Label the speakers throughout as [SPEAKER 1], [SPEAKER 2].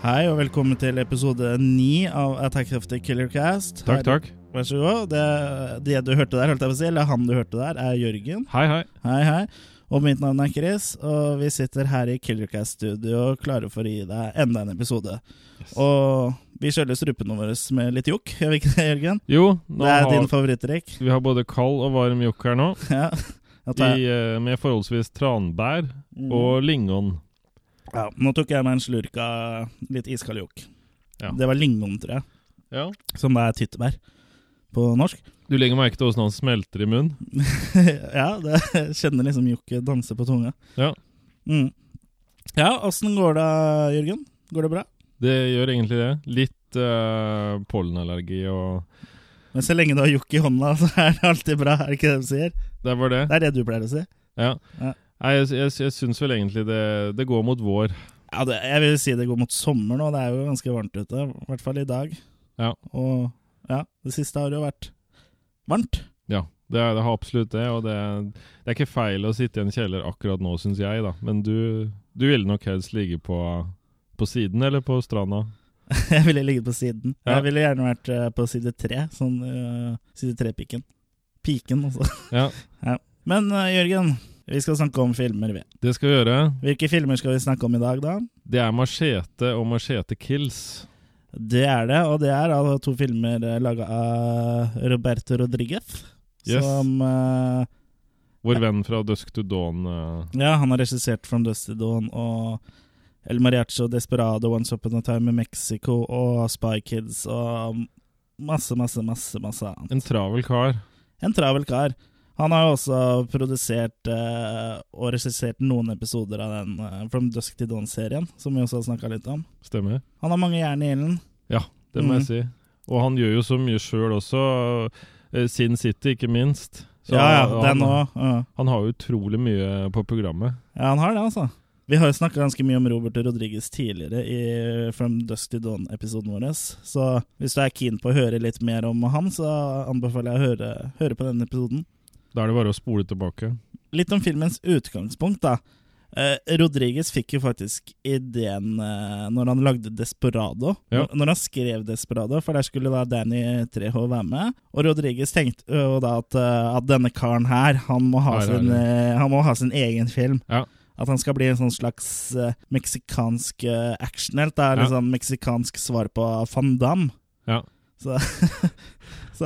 [SPEAKER 1] Hei og velkommen til episode ni av Attack of the Killer Cast.
[SPEAKER 2] Takk,
[SPEAKER 1] Her-
[SPEAKER 2] takk.
[SPEAKER 1] Vær så god. Det, det du hørte der, holdt jeg på å si, eller han du hørte der, er Jørgen.
[SPEAKER 2] Hei, hei.
[SPEAKER 1] Hei, hei. Og mitt navn er Chris, og vi sitter her i Killercast-studio klare for å gi deg enda en episode. Og vi kjøler strupene våre med litt jokk, gjør vi ikke det, Jørgen?
[SPEAKER 2] Jo, nå
[SPEAKER 1] Det er
[SPEAKER 2] har,
[SPEAKER 1] din favorittdrikk.
[SPEAKER 2] vi har både kald og varm jokk her nå,
[SPEAKER 1] Ja. Da
[SPEAKER 2] i,
[SPEAKER 1] tar jeg-
[SPEAKER 2] eh, med forholdsvis tranbær
[SPEAKER 1] Mm.
[SPEAKER 2] og lingon.
[SPEAKER 1] ja, nå tok jeg meg en slurk av litt iskald jokk.
[SPEAKER 2] Ja.
[SPEAKER 1] Det var lingon, tror jeg,
[SPEAKER 2] Ja.
[SPEAKER 1] som er tyttebær på norsk.
[SPEAKER 2] Du legger merke til åssen han smelter i munnen.
[SPEAKER 1] ja, det jeg kjenner liksom Jokke danse på tunga.
[SPEAKER 2] Ja.
[SPEAKER 1] Mm. Ja, åssen går det, Jørgen? Går det bra?
[SPEAKER 2] Det gjør egentlig det. Litt eh, pollenallergi og
[SPEAKER 1] Men så lenge du har Jokke i hånda, så er det alltid bra, er det ikke det de sier?
[SPEAKER 2] Det var det.
[SPEAKER 1] Det er det du pleier å si?
[SPEAKER 2] Ja.
[SPEAKER 1] Ja.
[SPEAKER 2] Nei, jeg, jeg, jeg syns vel egentlig det, det går mot vår.
[SPEAKER 1] Ja, det, jeg vil si det går mot sommer nå, det er jo ganske varmt ute. I hvert fall i dag.
[SPEAKER 2] Ja.
[SPEAKER 1] Og ja, det siste har jo vært varmt.
[SPEAKER 2] Ja, det, er- det har absolutt det. Og det, er- det er ikke feil å sitte i en kjeller akkurat nå, syns jeg, da. Men du, du ville nok helst ligge på, på siden eller på stranda.
[SPEAKER 1] Jeg ville ligget på siden.
[SPEAKER 2] Ja.
[SPEAKER 1] Jeg ville gjerne vært eh, på side tre, sånn eh, side tre-piken. Piken, altså.
[SPEAKER 2] Ja,
[SPEAKER 1] Men eh, Jørgen, vi skal snakke om filmer, vi.
[SPEAKER 2] det skal vi gjøre.
[SPEAKER 1] Hvilke filmer skal vi snakke om i dag, da?
[SPEAKER 2] Det er machete og machete kills.
[SPEAKER 1] Det er det, og det er da to filmer laga av Roberto Rodriguez.
[SPEAKER 2] Yes.
[SPEAKER 1] Som eh,
[SPEAKER 2] Vår venn fra Dusk to Dawn. eh,
[SPEAKER 1] Ja, han har regissert From Dusty Dawn og El Mariacho, Desperado, Once Upon a Time i Mexico og Spy Kids og masse, masse, masse, masse annet.
[SPEAKER 2] en travel kar.
[SPEAKER 1] En travel kar. Han har jo også produsert eh, og regissert noen episoder av den eh, From Dusk to Dawn-serien, som vi også har snakka litt om.
[SPEAKER 2] Stemmer.
[SPEAKER 1] Han har mange jern i ilden.
[SPEAKER 2] Det må
[SPEAKER 1] Mm.
[SPEAKER 2] jeg si. Og han gjør jo så mye sjøl også. eh, Sin City, ikke minst. Så
[SPEAKER 1] Ja, ja,
[SPEAKER 2] han-
[SPEAKER 1] den òg.
[SPEAKER 2] Han har jo utrolig mye på programmet.
[SPEAKER 1] Ja, han har det, altså. Vi har jo snakka ganske mye om Robert Rodriguez tidligere i From Dusk to Dawn-episoden vår, så hvis du er keen på å høre litt mer om han, så anbefaler jeg å høre, høre på den episoden.
[SPEAKER 2] Da er det bare å spole tilbake.
[SPEAKER 1] Litt om filmens utgangspunkt, da. Eh, Rodriguez fikk jo faktisk ideen eh, når han lagde 'Desperado'.
[SPEAKER 2] Ja.
[SPEAKER 1] Når- Når han skrev 'Desperado', for der skulle da Danny Treho være med. Og Rodriguez tenkte jo da at, eh, at denne karen her, han må ha,
[SPEAKER 2] Her er
[SPEAKER 1] sin,
[SPEAKER 2] det.
[SPEAKER 1] eh, han må ha sin egen film.
[SPEAKER 2] Ja.
[SPEAKER 1] At han skal bli en sånn slags eh, meksikansk eh, actionhelt. Det er
[SPEAKER 2] Ja.
[SPEAKER 1] litt sånn meksikansk svar på van Damme.
[SPEAKER 2] Ja.
[SPEAKER 1] Så, så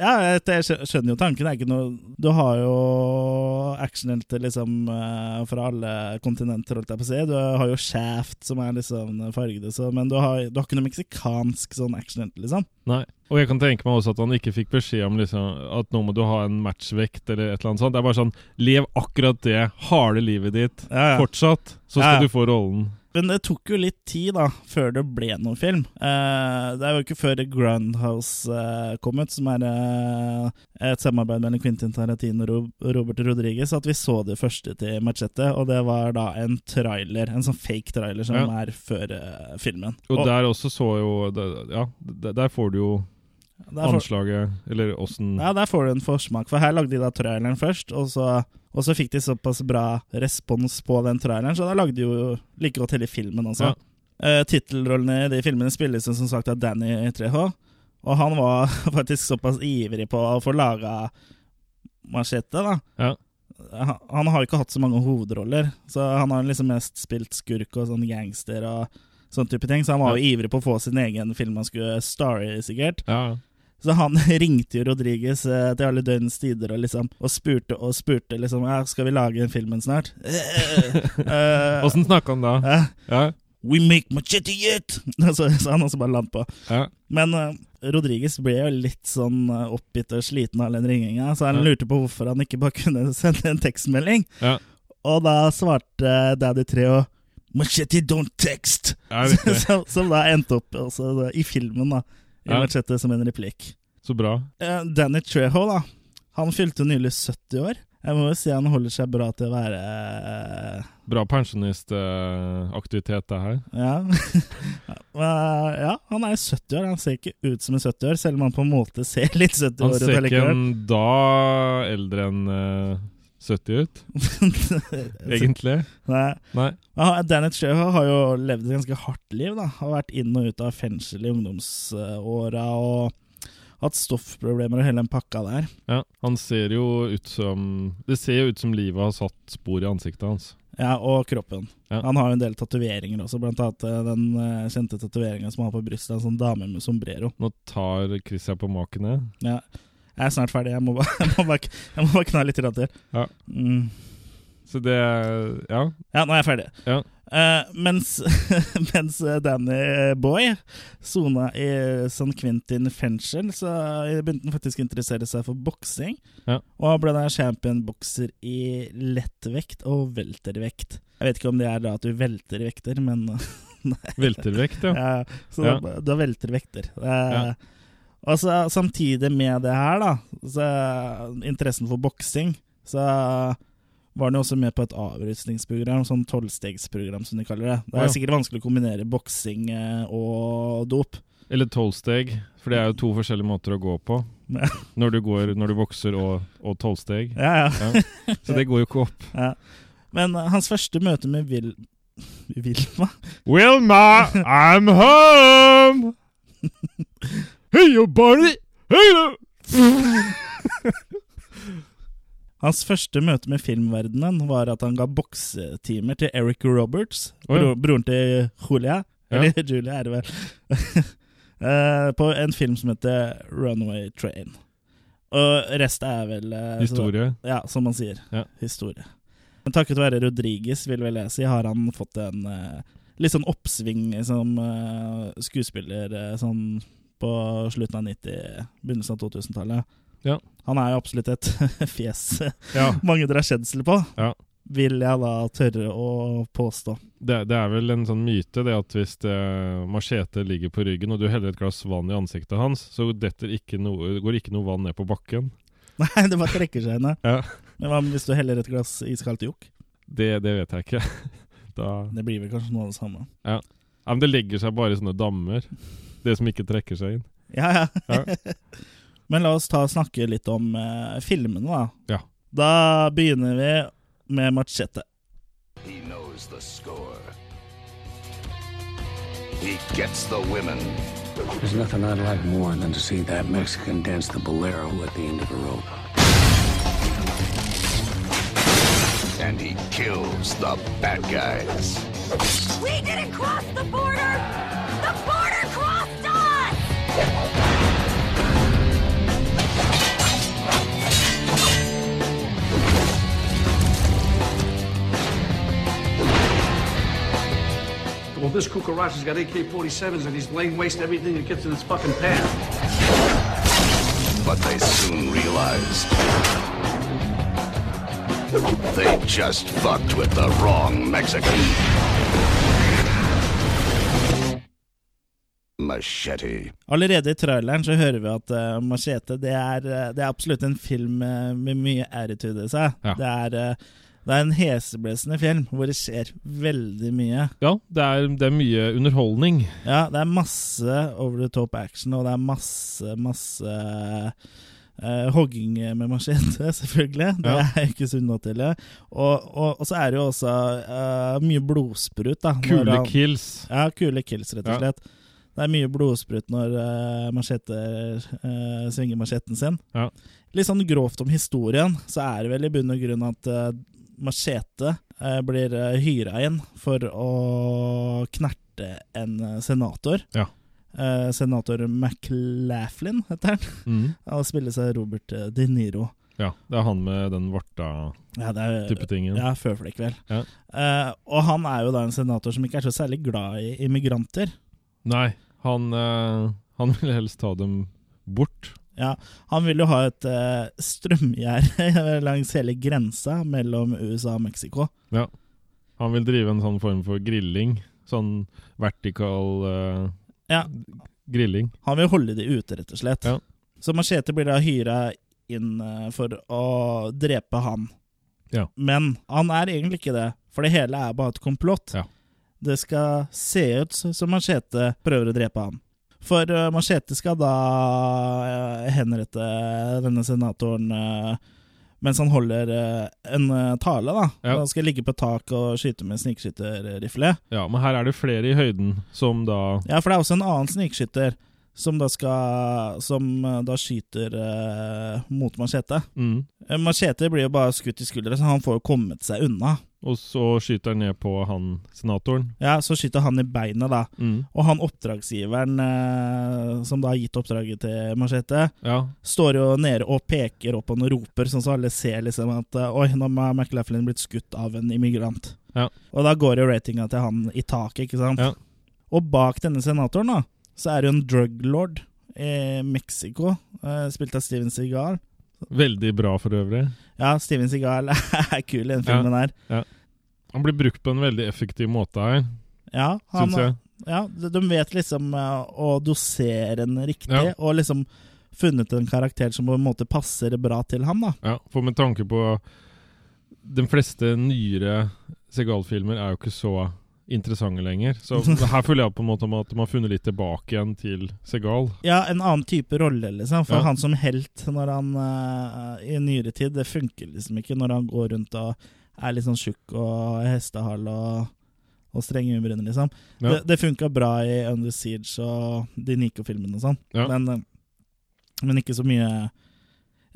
[SPEAKER 1] ja, jeg jeg skjø- skjønner jo tanken. Det er ikke noe Du har jo actionhelter liksom eh, fra alle kontinenter, holdt jeg på å si. Du har jo Shaft, som er liksom fargede, så Men du har, du har ikke noe meksikansk sånn actionhelt, liksom.
[SPEAKER 2] Nei. Og jeg kan tenke meg også at han ikke fikk beskjed om liksom, at nå må du ha en matchvekt eller et eller annet sånt. Det er bare sånn Lev akkurat det harde livet ditt
[SPEAKER 1] Ja, ja.
[SPEAKER 2] fortsatt, så
[SPEAKER 1] Ja, ja.
[SPEAKER 2] skal du få rollen.
[SPEAKER 1] Men det tok jo litt tid da før det ble noen film. Eh, det er jo ikke før Groundhouse eh, kom ut, som er eh, et samarbeid mellom Quentin Tarantino og Ro- Robert Rodriguez, at vi så det første til Machete. Og det var da en trailer, en sånn fake trailer som
[SPEAKER 2] Ja.
[SPEAKER 1] er før eh, filmen.
[SPEAKER 2] Og der også så jo det- Ja, der, der får du jo
[SPEAKER 1] der får,
[SPEAKER 2] anslaget, eller åssen
[SPEAKER 1] ja, der får du en forsmak, for her lagde de da traileren først. Og så, og så fikk de såpass bra respons på den traileren, så da lagde de jo like godt hele filmen også.
[SPEAKER 2] Ja.
[SPEAKER 1] Eh, Tittelrollene i de filmene spilles jo som sagt av Danny Treho. Og han var faktisk såpass ivrig på å få laga machete, da.
[SPEAKER 2] Ja.
[SPEAKER 1] Han, han har jo ikke hatt så mange hovedroller, så han har liksom mest spilt skurk og sånn gangster og sånn type ting. Så han var jo ivrig på å få sin egen film han skulle starre i, sikkert.
[SPEAKER 2] ja.
[SPEAKER 1] Så han ringte jo Rodriguez eh, til alle døgnets tider og liksom Og spurte og spurte liksom ja, Skal vi lage den filmen snart? Eh,
[SPEAKER 2] Åssen snakka han da?
[SPEAKER 1] eh,
[SPEAKER 2] Ja,
[SPEAKER 1] We make machete yet! så, så han også bare landet på.
[SPEAKER 2] ja.
[SPEAKER 1] Men eh, Rodriguez ble jo litt sånn eh, oppgitt og sliten av all den ringinga, så han
[SPEAKER 2] Ja.
[SPEAKER 1] lurte på hvorfor han ikke bare kunne sende en tekstmelding.
[SPEAKER 2] Ja.
[SPEAKER 1] Og da svarte eh, Daddy Treo Machete don't text!
[SPEAKER 2] ja riktig.
[SPEAKER 1] som, som da endte opp også da, i filmen, da. I
[SPEAKER 2] Ja.
[SPEAKER 1] Machete som en replikk.
[SPEAKER 2] Så bra.
[SPEAKER 1] Eh, Danny Treho, da. Han fylte nylig 70 år. Jeg må jo si han holder seg bra til å være eh,
[SPEAKER 2] Bra pensjonistaktivitet, det her.
[SPEAKER 1] Ja. Eh, ja, han er jo 70 år. Han ser ikke ut som en 70 år, selv om han på en måte ser litt 70
[SPEAKER 2] Han
[SPEAKER 1] år ut
[SPEAKER 2] ser ikke
[SPEAKER 1] allikevel.
[SPEAKER 2] en da eldre enn eh, 70 ut, egentlig.
[SPEAKER 1] Nei.
[SPEAKER 2] Nei.
[SPEAKER 1] Ja, Danet Sheva har jo levd et ganske hardt liv. da Har vært inn og ut av fengsel i ungdomsåra og hatt stoffproblemer og hele den pakka der.
[SPEAKER 2] Ja, han ser jo ut som Det ser jo ut som livet har satt spor i ansiktet hans.
[SPEAKER 1] Ja, Og kroppen.
[SPEAKER 2] Ja.
[SPEAKER 1] Han har jo en del tatoveringer også, blant annet eh, den eh, kjente tatoveringa som han har på brystet, en sånn dame med sombrero.
[SPEAKER 2] Nå tar Christian på maken ned.
[SPEAKER 1] Ja. Jeg er snart ferdig, jeg må bare, jeg må bare, jeg må bare kna litt grann til.
[SPEAKER 2] Ja.
[SPEAKER 1] Mm.
[SPEAKER 2] Så det Ja.
[SPEAKER 1] Ja, nå er jeg ferdig.
[SPEAKER 2] Ja.
[SPEAKER 1] Eh, mens, mens eh, Danny Boy sona i eh, San Quentin fengsel, så eh, begynte han faktisk å interessere seg for boksing.
[SPEAKER 2] Ja.
[SPEAKER 1] Og ble da championbokser i lettvekt og weltervekt. Jeg vet ikke om det er da at du velter vekter, men eh,
[SPEAKER 2] Veltervekt, ja.
[SPEAKER 1] ja, så
[SPEAKER 2] Ja.
[SPEAKER 1] da, da velter vekter. Eh,
[SPEAKER 2] Ja.
[SPEAKER 1] Og så samtidig med det her, da, så interessen for boksing, så var han jo også med på et avrustningsprogram, sånn tolvstegsprogram som de kaller det. Det
[SPEAKER 2] Å,
[SPEAKER 1] er
[SPEAKER 2] ja.
[SPEAKER 1] sikkert vanskelig å kombinere boksing eh, og dop.
[SPEAKER 2] Eller tolvsteg, for det er jo to forskjellige måter å gå på.
[SPEAKER 1] Ja.
[SPEAKER 2] Når du går, når du vokser og, og tolvsteg.
[SPEAKER 1] Ja, ja.
[SPEAKER 2] Så det går jo ikke opp.
[SPEAKER 1] ja. Men eh, hans første møte med Vil... Vilma?
[SPEAKER 2] Wilma, I'm home! Hey, you buddy! Hey, you!
[SPEAKER 1] Hans første møte med filmverdenen var at han ga boksetimer til Eric Roberts,
[SPEAKER 2] Å, ja.
[SPEAKER 1] bro broren til Julia.
[SPEAKER 2] Ja.
[SPEAKER 1] Eller Julia, er det vel. Eh, på en film som heter Runaway Train. Og resten er vel eh, så-
[SPEAKER 2] Historie.
[SPEAKER 1] Ja, som man sier.
[SPEAKER 2] Ja.
[SPEAKER 1] Historie. Men takket være Rodriguez, vil vel jeg si, har han fått en eh, litt sånn oppsving som eh, skuespiller eh, sånn på slutten av 90, begynnelsen av 2000-tallet.
[SPEAKER 2] Ja.
[SPEAKER 1] Han er jo absolutt et fjes
[SPEAKER 2] Ja.
[SPEAKER 1] mange drar kjensel på,
[SPEAKER 2] Ja.
[SPEAKER 1] vil jeg da tørre å påstå.
[SPEAKER 2] Det, det er vel en sånn myte det at hvis det, machete ligger på ryggen og du heller et glass vann i ansiktet hans, så detter ikke noe, går ikke noe vann ned på bakken.
[SPEAKER 1] Nei, det bare trekker seg ned.
[SPEAKER 2] Ja.
[SPEAKER 1] Men hva hvis du heller et glass iskaldt jokk?
[SPEAKER 2] Det, det vet jeg ikke. Da,
[SPEAKER 1] Det blir vel kanskje noe av det samme.
[SPEAKER 2] ja, men det legger seg bare i sånne dammer. Det som ikke trekker seg inn.
[SPEAKER 1] Ja, ja.
[SPEAKER 2] Ja.
[SPEAKER 1] Men la oss ta og snakke litt om eh, filmene, da.
[SPEAKER 2] Ja.
[SPEAKER 1] Da begynner vi med Machete.
[SPEAKER 3] He knows the score. He gets the women.
[SPEAKER 4] There's nothing I'd like more than to see that Mexican dance the bolero at the end of a rope.
[SPEAKER 3] And he kills the bad guys.
[SPEAKER 5] We didn't cross the border! The border crossed us!
[SPEAKER 6] Well, this cucaracha's got AK-47s and he's laying waste to everything that gets in his fucking path.
[SPEAKER 3] But they soon realized they just fucked with the wrong Mexican. Machete.
[SPEAKER 1] Allerede i traileren så hører vi at eh, Machete det er, eh, det er absolutt en film eh, med mye attitude i seg.
[SPEAKER 2] Ja.
[SPEAKER 1] Det, er, eh, det er en heseblesende film hvor det skjer veldig mye.
[SPEAKER 2] Ja, det er, det er mye underholdning.
[SPEAKER 1] Ja, det er masse over the top action, og det er masse, masse eh, hogging med machete, selvfølgelig. Det
[SPEAKER 2] Ja.
[SPEAKER 1] er ikke sunt nå til det. Og, og, og så er det jo også eh, mye blodsprut, da. når
[SPEAKER 2] Kule
[SPEAKER 1] han-
[SPEAKER 2] kills.
[SPEAKER 1] Ja, kule kills, rett og
[SPEAKER 2] Ja.
[SPEAKER 1] slett. Det er mye blodsprut når uh, machete eh, svinger macheten sin.
[SPEAKER 2] Ja.
[SPEAKER 1] Litt sånn grovt om historien, så er det vel i bunn og grunn at eh, machete eh, blir uh, hyra inn for å knerte en eh, senator.
[SPEAKER 2] Ja.
[SPEAKER 1] Eh, senator McLaughlin heter han.
[SPEAKER 2] Mm.
[SPEAKER 1] Og spilles av Robert eh, De Niro.
[SPEAKER 2] Ja, det er han med den varta-type
[SPEAKER 1] Ja, det er
[SPEAKER 2] tingen.
[SPEAKER 1] ja, føflekk, vel.
[SPEAKER 2] Ja.
[SPEAKER 1] Eh, og han er jo da en senator som ikke er så særlig glad i immigranter.
[SPEAKER 2] Nei, han, eh, han vil helst ta dem bort.
[SPEAKER 1] Ja, han vil jo ha et uh, strømgjerde langs hele grensa mellom USA og Mexico.
[SPEAKER 2] Ja. Han vil drive en sånn form for grilling. Sånn vertikal eh,
[SPEAKER 1] Ja.
[SPEAKER 2] grilling.
[SPEAKER 1] Han vil holde de ute, rett og slett.
[SPEAKER 2] Ja.
[SPEAKER 1] Så Machete blir da hyra inn eh, for å drepe han.
[SPEAKER 2] Ja.
[SPEAKER 1] Men han er egentlig ikke det, for det hele er bare et komplott.
[SPEAKER 2] Ja.
[SPEAKER 1] Det skal se ut som Machete prøver å drepe han. For eh, Machete skal da eh, henrette denne senatoren eh, mens han holder eh, en eh, tale. da.
[SPEAKER 2] Ja.
[SPEAKER 1] Han skal ligge på tak og skyte med snikskytterrifle.
[SPEAKER 2] Ja, men her er det flere i høyden som da
[SPEAKER 1] Ja, for det er også en annen snikskytter som da skal Som eh, da skyter eh, mot machete.
[SPEAKER 2] mm,
[SPEAKER 1] Eh, Machete blir jo bare skutt i skulderen, så han får jo kommet seg unna.
[SPEAKER 2] Og så skyter han ned på han senatoren.
[SPEAKER 1] Ja, Så skyter han i beinet, da.
[SPEAKER 2] Mm,
[SPEAKER 1] Og han oppdragsgiveren eh, som da har gitt oppdraget til Machete,
[SPEAKER 2] ja.
[SPEAKER 1] står jo nede og peker opp og han roper, sånn så alle ser liksom at eh, Oi, nå har McLaughlin blitt skutt av en immigrant.
[SPEAKER 2] Ja.
[SPEAKER 1] Og da går jo ratinga til han i taket, ikke sant?
[SPEAKER 2] Ja.
[SPEAKER 1] Og bak denne senatoren, da, så er det jo en drug lord i Mexico, eh, spilt av Steven Seagal.
[SPEAKER 2] Veldig bra for øvrig.
[SPEAKER 1] Ja, Steven Seagal er kul i den filmen her.
[SPEAKER 2] Han blir brukt på en veldig effektiv måte her,
[SPEAKER 1] Ja, han,
[SPEAKER 2] syns jeg.
[SPEAKER 1] Ja, de de vet liksom eh, å dosere den riktig,
[SPEAKER 2] Ja.
[SPEAKER 1] og liksom funnet en karakter som på en måte passer bra til ham, da.
[SPEAKER 2] Ja, for med tanke på De fleste nyere Segal-filmer er jo ikke så interessante lenger. Så her føler jeg på en måte om at de har funnet litt tilbake igjen til Segal.
[SPEAKER 1] Ja, en annen type rolle, liksom. For
[SPEAKER 2] Ja.
[SPEAKER 1] han som helt når han eh, i nyere tid, det funker liksom ikke når han går rundt og er litt sånn tjukk og hestehale og, og streng i øyenbrynene, liksom.
[SPEAKER 2] Ja.
[SPEAKER 1] Det, det funka bra i Under Siege og de Nico-filmene og sånn,
[SPEAKER 2] Ja.
[SPEAKER 1] men, eh, men ikke så mye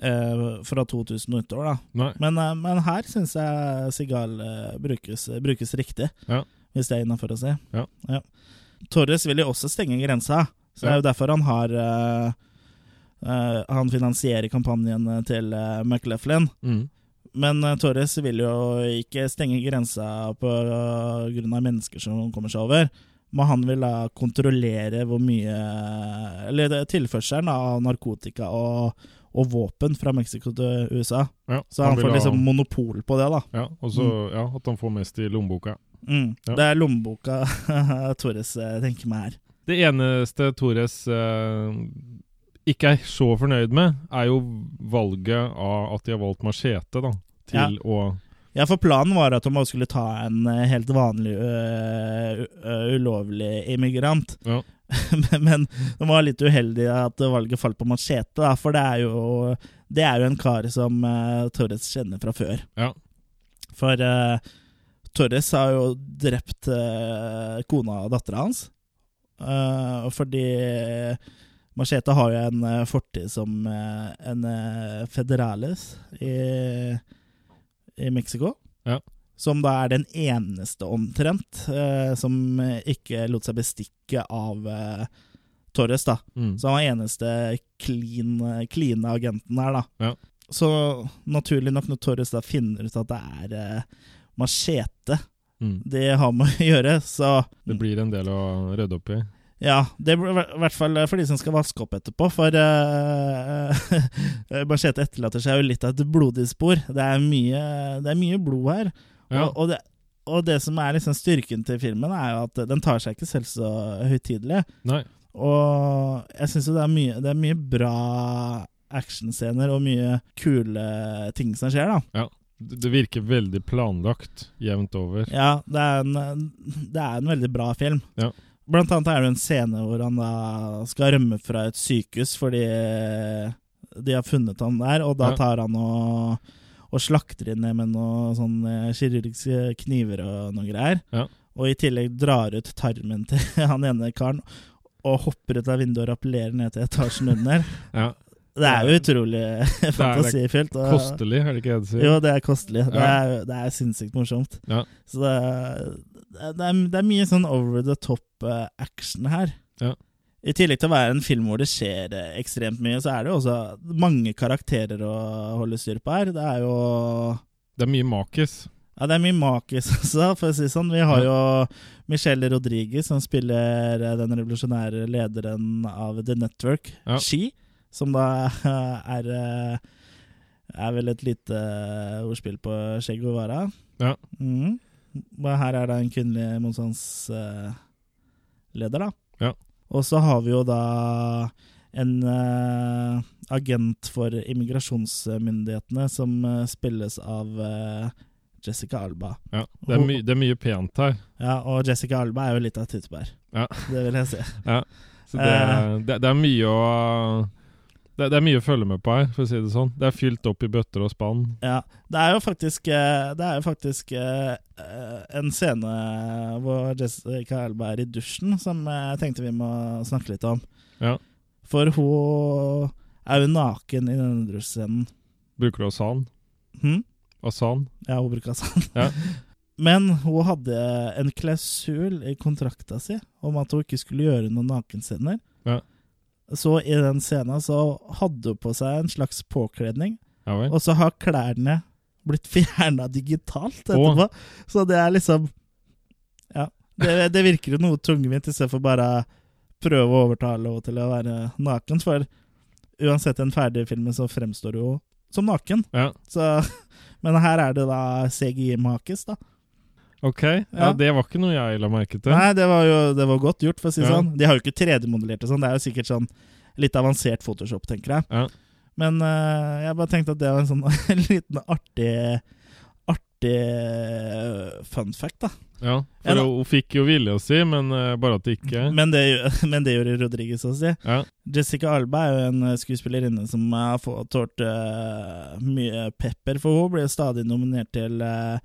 [SPEAKER 1] eh, fra 2000 og utover, da.
[SPEAKER 2] Nei.
[SPEAKER 1] Men, eh, men her syns jeg Sigal eh, brukes, brukes riktig,
[SPEAKER 2] Ja.
[SPEAKER 1] hvis det er innafor å si.
[SPEAKER 2] Ja.
[SPEAKER 1] Torres vil jo også stenge grensa, så det er jo derfor han har eh, eh, Han finansierer kampanjen til uh, McLaughlin.
[SPEAKER 2] Mm.
[SPEAKER 1] Men eh, Torres vil jo ikke stenge grensa på eh, grunn av mennesker som kommer seg over. Men han vil da kontrollere hvor mye Eller det- tilførselen av narkotika og, og våpen fra Mexico til USA.
[SPEAKER 2] Ja,
[SPEAKER 1] Så han
[SPEAKER 2] vil
[SPEAKER 1] får
[SPEAKER 2] ha-
[SPEAKER 1] liksom Mm. monopol på det, da.
[SPEAKER 2] ja, og så, ja, at han får mest i lommeboka.
[SPEAKER 1] Mm.
[SPEAKER 2] Ja.
[SPEAKER 1] Det er lommeboka Torres eh, tenker meg her.
[SPEAKER 2] Det eneste Torres eh, ikke er så fornøyd med, er jo valget av at de har valgt machete da, til å
[SPEAKER 1] Ja, for planen var at han bare skulle ta en eh, helt vanlig eh, u- eh, ulovlig immigrant.
[SPEAKER 2] Ja.
[SPEAKER 1] men, men de var litt uheldige at valget falt på machete, da, for det er jo, det er jo en kar som eh, Torres kjenner fra før.
[SPEAKER 2] Ja.
[SPEAKER 1] For eh, Torres har jo drept eh, kona og dattera hans. Eh, fordi Machete har jo en eh, fortid som eh, en eh, federales i, i Mexico.
[SPEAKER 2] Ja.
[SPEAKER 1] Som da er den eneste omtrent eh, som eh, ikke lot seg bestikke av eh, Torres, da.
[SPEAKER 2] mm.
[SPEAKER 1] Så han var eneste clean, clean agenten her, da.
[SPEAKER 2] Ja.
[SPEAKER 1] Så naturlig nok, når Torres da finner ut at det er eh, machete
[SPEAKER 2] Mm.
[SPEAKER 1] de har med å gjøre, så
[SPEAKER 2] Det blir en del å rydde opp i.
[SPEAKER 1] ja, det blir i hvert fall for de som skal vaske opp etterpå, for uh, Machete etterlater seg jo litt av et blodig spor. Det er mye, det er mye blod her.
[SPEAKER 2] Ja.
[SPEAKER 1] Og, og, det, og det som er liksom styrken til filmen, er jo at den tar seg ikke selv så høytidelig.
[SPEAKER 2] Nei.
[SPEAKER 1] Og jeg syns jo det er mye, det er mye bra actionscener og mye kule ting som skjer, da.
[SPEAKER 2] Det det virker veldig planlagt jevnt over.
[SPEAKER 1] Ja, det er en, det er en veldig bra film.
[SPEAKER 2] Ja.
[SPEAKER 1] Blant annet er det en scene hvor han da skal rømme fra et sykehus fordi de har funnet han der, og da
[SPEAKER 2] Ja.
[SPEAKER 1] tar han og, og slakter inn det med noen sånne kirurgiske kniver og noe greier.
[SPEAKER 2] Ja.
[SPEAKER 1] Og i tillegg drar ut tarmen til han ene karen og hopper ut av vinduet og rappellerer ned til etasjen under.
[SPEAKER 2] Ja.
[SPEAKER 1] Det er jo utrolig fantasifylt. og-
[SPEAKER 2] Kostelig, er det ikke det du sier?
[SPEAKER 1] jo, det er kostelig. Det,
[SPEAKER 2] Ja.
[SPEAKER 1] er, det er sinnssykt morsomt.
[SPEAKER 2] Ja.
[SPEAKER 1] Så det er, det, er, det er mye sånn over the top eh, action her.
[SPEAKER 2] Ja.
[SPEAKER 1] I tillegg til å være en film hvor det skjer eh, ekstremt mye, så er det jo også mange karakterer å holde styr på her. Det er jo
[SPEAKER 2] Det er mye makis.
[SPEAKER 1] ja, det er mye makis også, for å si det sånn. Vi har jo Michelle Rodriguez, som spiller eh, den revolusjonære lederen av The Network,
[SPEAKER 2] Ja.
[SPEAKER 1] She, som da eh, er eh, er vel et lite eh, ordspill på Che Guevara.
[SPEAKER 2] Ja.
[SPEAKER 1] Mhm. Men Her er da en kvinnelig motstandsleder, da.
[SPEAKER 2] Ja.
[SPEAKER 1] Og så har vi jo da en eh, agent for immigrasjonsmyndighetene som eh, spilles av eh, Jessica Alba.
[SPEAKER 2] Ja. Det, er my det er mye pent her.
[SPEAKER 1] Ja, og Jessica Alba er jo litt av et tyttebær.
[SPEAKER 2] Ja.
[SPEAKER 1] Det vil jeg si.
[SPEAKER 2] Så det, det, det er mye å Det, det er mye å følge med på her, for å si det sånn. Det er fylt opp i bøtter og spann.
[SPEAKER 1] Ja, det er jo faktisk, eh, det er jo faktisk eh, eh, en scene hvor Jessica Alba er i dusjen, som jeg tenkte vi må snakke litt om.
[SPEAKER 2] Ja.
[SPEAKER 1] For hun er jo naken i denne dusjscenen.
[SPEAKER 2] Bruker du asan?
[SPEAKER 1] Hm?
[SPEAKER 2] Asan?
[SPEAKER 1] Ja, hun bruker sand.
[SPEAKER 2] Ja.
[SPEAKER 1] Men hun hadde en klausul i kontrakta si om at hun ikke skulle gjøre noen nakenscener.
[SPEAKER 2] Ja.
[SPEAKER 1] Så i den scenen så hadde hun på seg en slags påkledning,
[SPEAKER 2] Ja vel.
[SPEAKER 1] og så har klærne blitt fjerna digitalt
[SPEAKER 2] Åh.
[SPEAKER 1] etterpå. Så det er liksom Ja. Det, det virker jo noe tungvint, istedenfor bare prøve å overtale henne til å være naken. For uansett den ferdige filmen så fremstår hun jo som naken.
[SPEAKER 2] Ja.
[SPEAKER 1] Så, men her er det da CGI-makis, da.
[SPEAKER 2] Ok. Ja,
[SPEAKER 1] Ja.
[SPEAKER 2] Det var ikke noe jeg la merke til.
[SPEAKER 1] Nei, det var jo det var godt gjort, for å si det
[SPEAKER 2] Ja.
[SPEAKER 1] sånn. De har jo ikke 3D-modellert og sånn, det er jo sikkert sånn litt avansert Photoshop, tenker jeg.
[SPEAKER 2] Ja.
[SPEAKER 1] Men eh, jeg bare tenkte at det var en sånn en liten artig Artig eh, fun fact, da.
[SPEAKER 2] Ja,
[SPEAKER 1] Ja,
[SPEAKER 2] for
[SPEAKER 1] da- Mm.
[SPEAKER 2] hun fikk jo vilja si, men eh, bare at det ikke
[SPEAKER 1] Men det, gjør- men det gjorde Rodriguez også.
[SPEAKER 2] Ja.
[SPEAKER 1] Jessica Alba er jo en eh, skuespillerinne som har fått tålt eh, mye pepper, for hun ble jo stadig nominert til uh,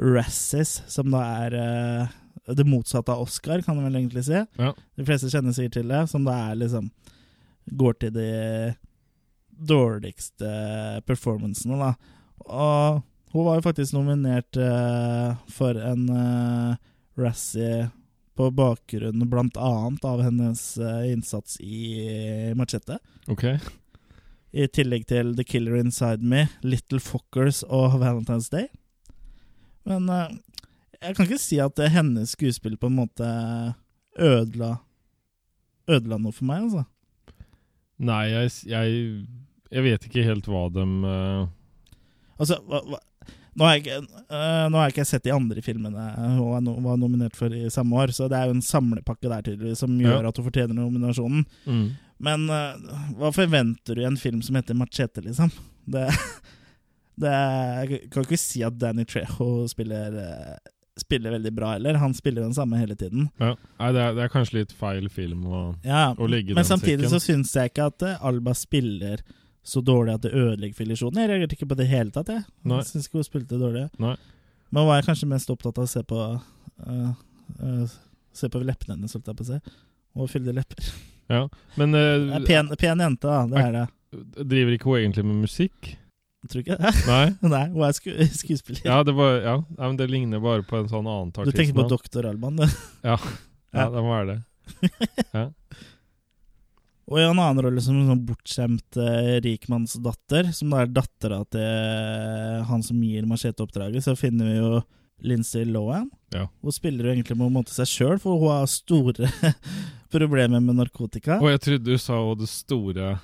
[SPEAKER 1] Razzies, som da er eh, det motsatte av Oscar, kan man vel egentlig si.
[SPEAKER 2] Ja.
[SPEAKER 1] De fleste kjenner sikkert til det, som da er liksom Går til de dårligste performancene, da. Og hun var jo faktisk nominert eh, for en uh, Razzie på bakgrunn blant annet av hennes eh, innsats i Machete.
[SPEAKER 2] Ok.
[SPEAKER 1] I tillegg til The Killer Inside Me, Little Fockers og Valentine's Day. Men eh, jeg kan ikke si at det hennes skuespill på en måte ødela Ødela noe for meg, altså.
[SPEAKER 2] Nei, jeg, s- jeg, jeg vet ikke helt hva dem eh,
[SPEAKER 1] Altså, hva, hva nå har, jeg, ikke- øh, nå har jeg ikke sett de andre filmene hun er no, var nominert for i samme år, så det er jo en samlepakke der tydeligvis som gjør
[SPEAKER 2] Ja.
[SPEAKER 1] at hun fortjener nominasjonen.
[SPEAKER 2] mm.
[SPEAKER 1] Men øh, hva forventer du i en film som heter Machete, liksom? Det, det Jeg kan ikke si at Danny Trejo spiller, øh, spiller veldig bra heller. Han spiller den samme hele tiden.
[SPEAKER 2] ja. Nei, det er, det er kanskje litt feil film å
[SPEAKER 1] Ja,
[SPEAKER 2] Å legge
[SPEAKER 1] men
[SPEAKER 2] den
[SPEAKER 1] samtidig
[SPEAKER 2] sekken.
[SPEAKER 1] så syns jeg ikke at eh, Alba spiller så dårlig at det ødelegger for illusjonen. Jeg reagerte ikke på det i hele tatt, jeg.
[SPEAKER 2] Nei.
[SPEAKER 1] Jeg syns ikke hun spilte dårlig.
[SPEAKER 2] Nei.
[SPEAKER 1] Men var jeg kanskje mest opptatt av å se på eh, eh, Se på leppene hennes, holdt jeg på å si. Og fyldige lepper.
[SPEAKER 2] Ja. Men
[SPEAKER 1] Det er
[SPEAKER 2] eh,
[SPEAKER 1] pen, pen jente, da. Det er det.
[SPEAKER 2] driver ikke hun egentlig med musikk?
[SPEAKER 1] Jeg tror ikke det.
[SPEAKER 2] Nei?
[SPEAKER 1] Nei, hun er sku skuespiller.
[SPEAKER 2] Ja, det, var, ja. Nei, men det ligner bare på en sånn annen
[SPEAKER 1] du
[SPEAKER 2] artist.
[SPEAKER 1] tenker på
[SPEAKER 2] nå.
[SPEAKER 1] Doktor Alban, du.
[SPEAKER 2] Ja, det må være det.
[SPEAKER 1] Og i en annen rolle som en sånn bortskjemt eh, rikmannsdatter, som da er dattera til han som gir macheteoppdraget, så finner vi jo Lindsay Lohan.
[SPEAKER 2] Ja.
[SPEAKER 1] Hun spiller jo egentlig på en måte seg sjøl, for hun har store problemer med narkotika.
[SPEAKER 2] Og jeg trodde du sa og det store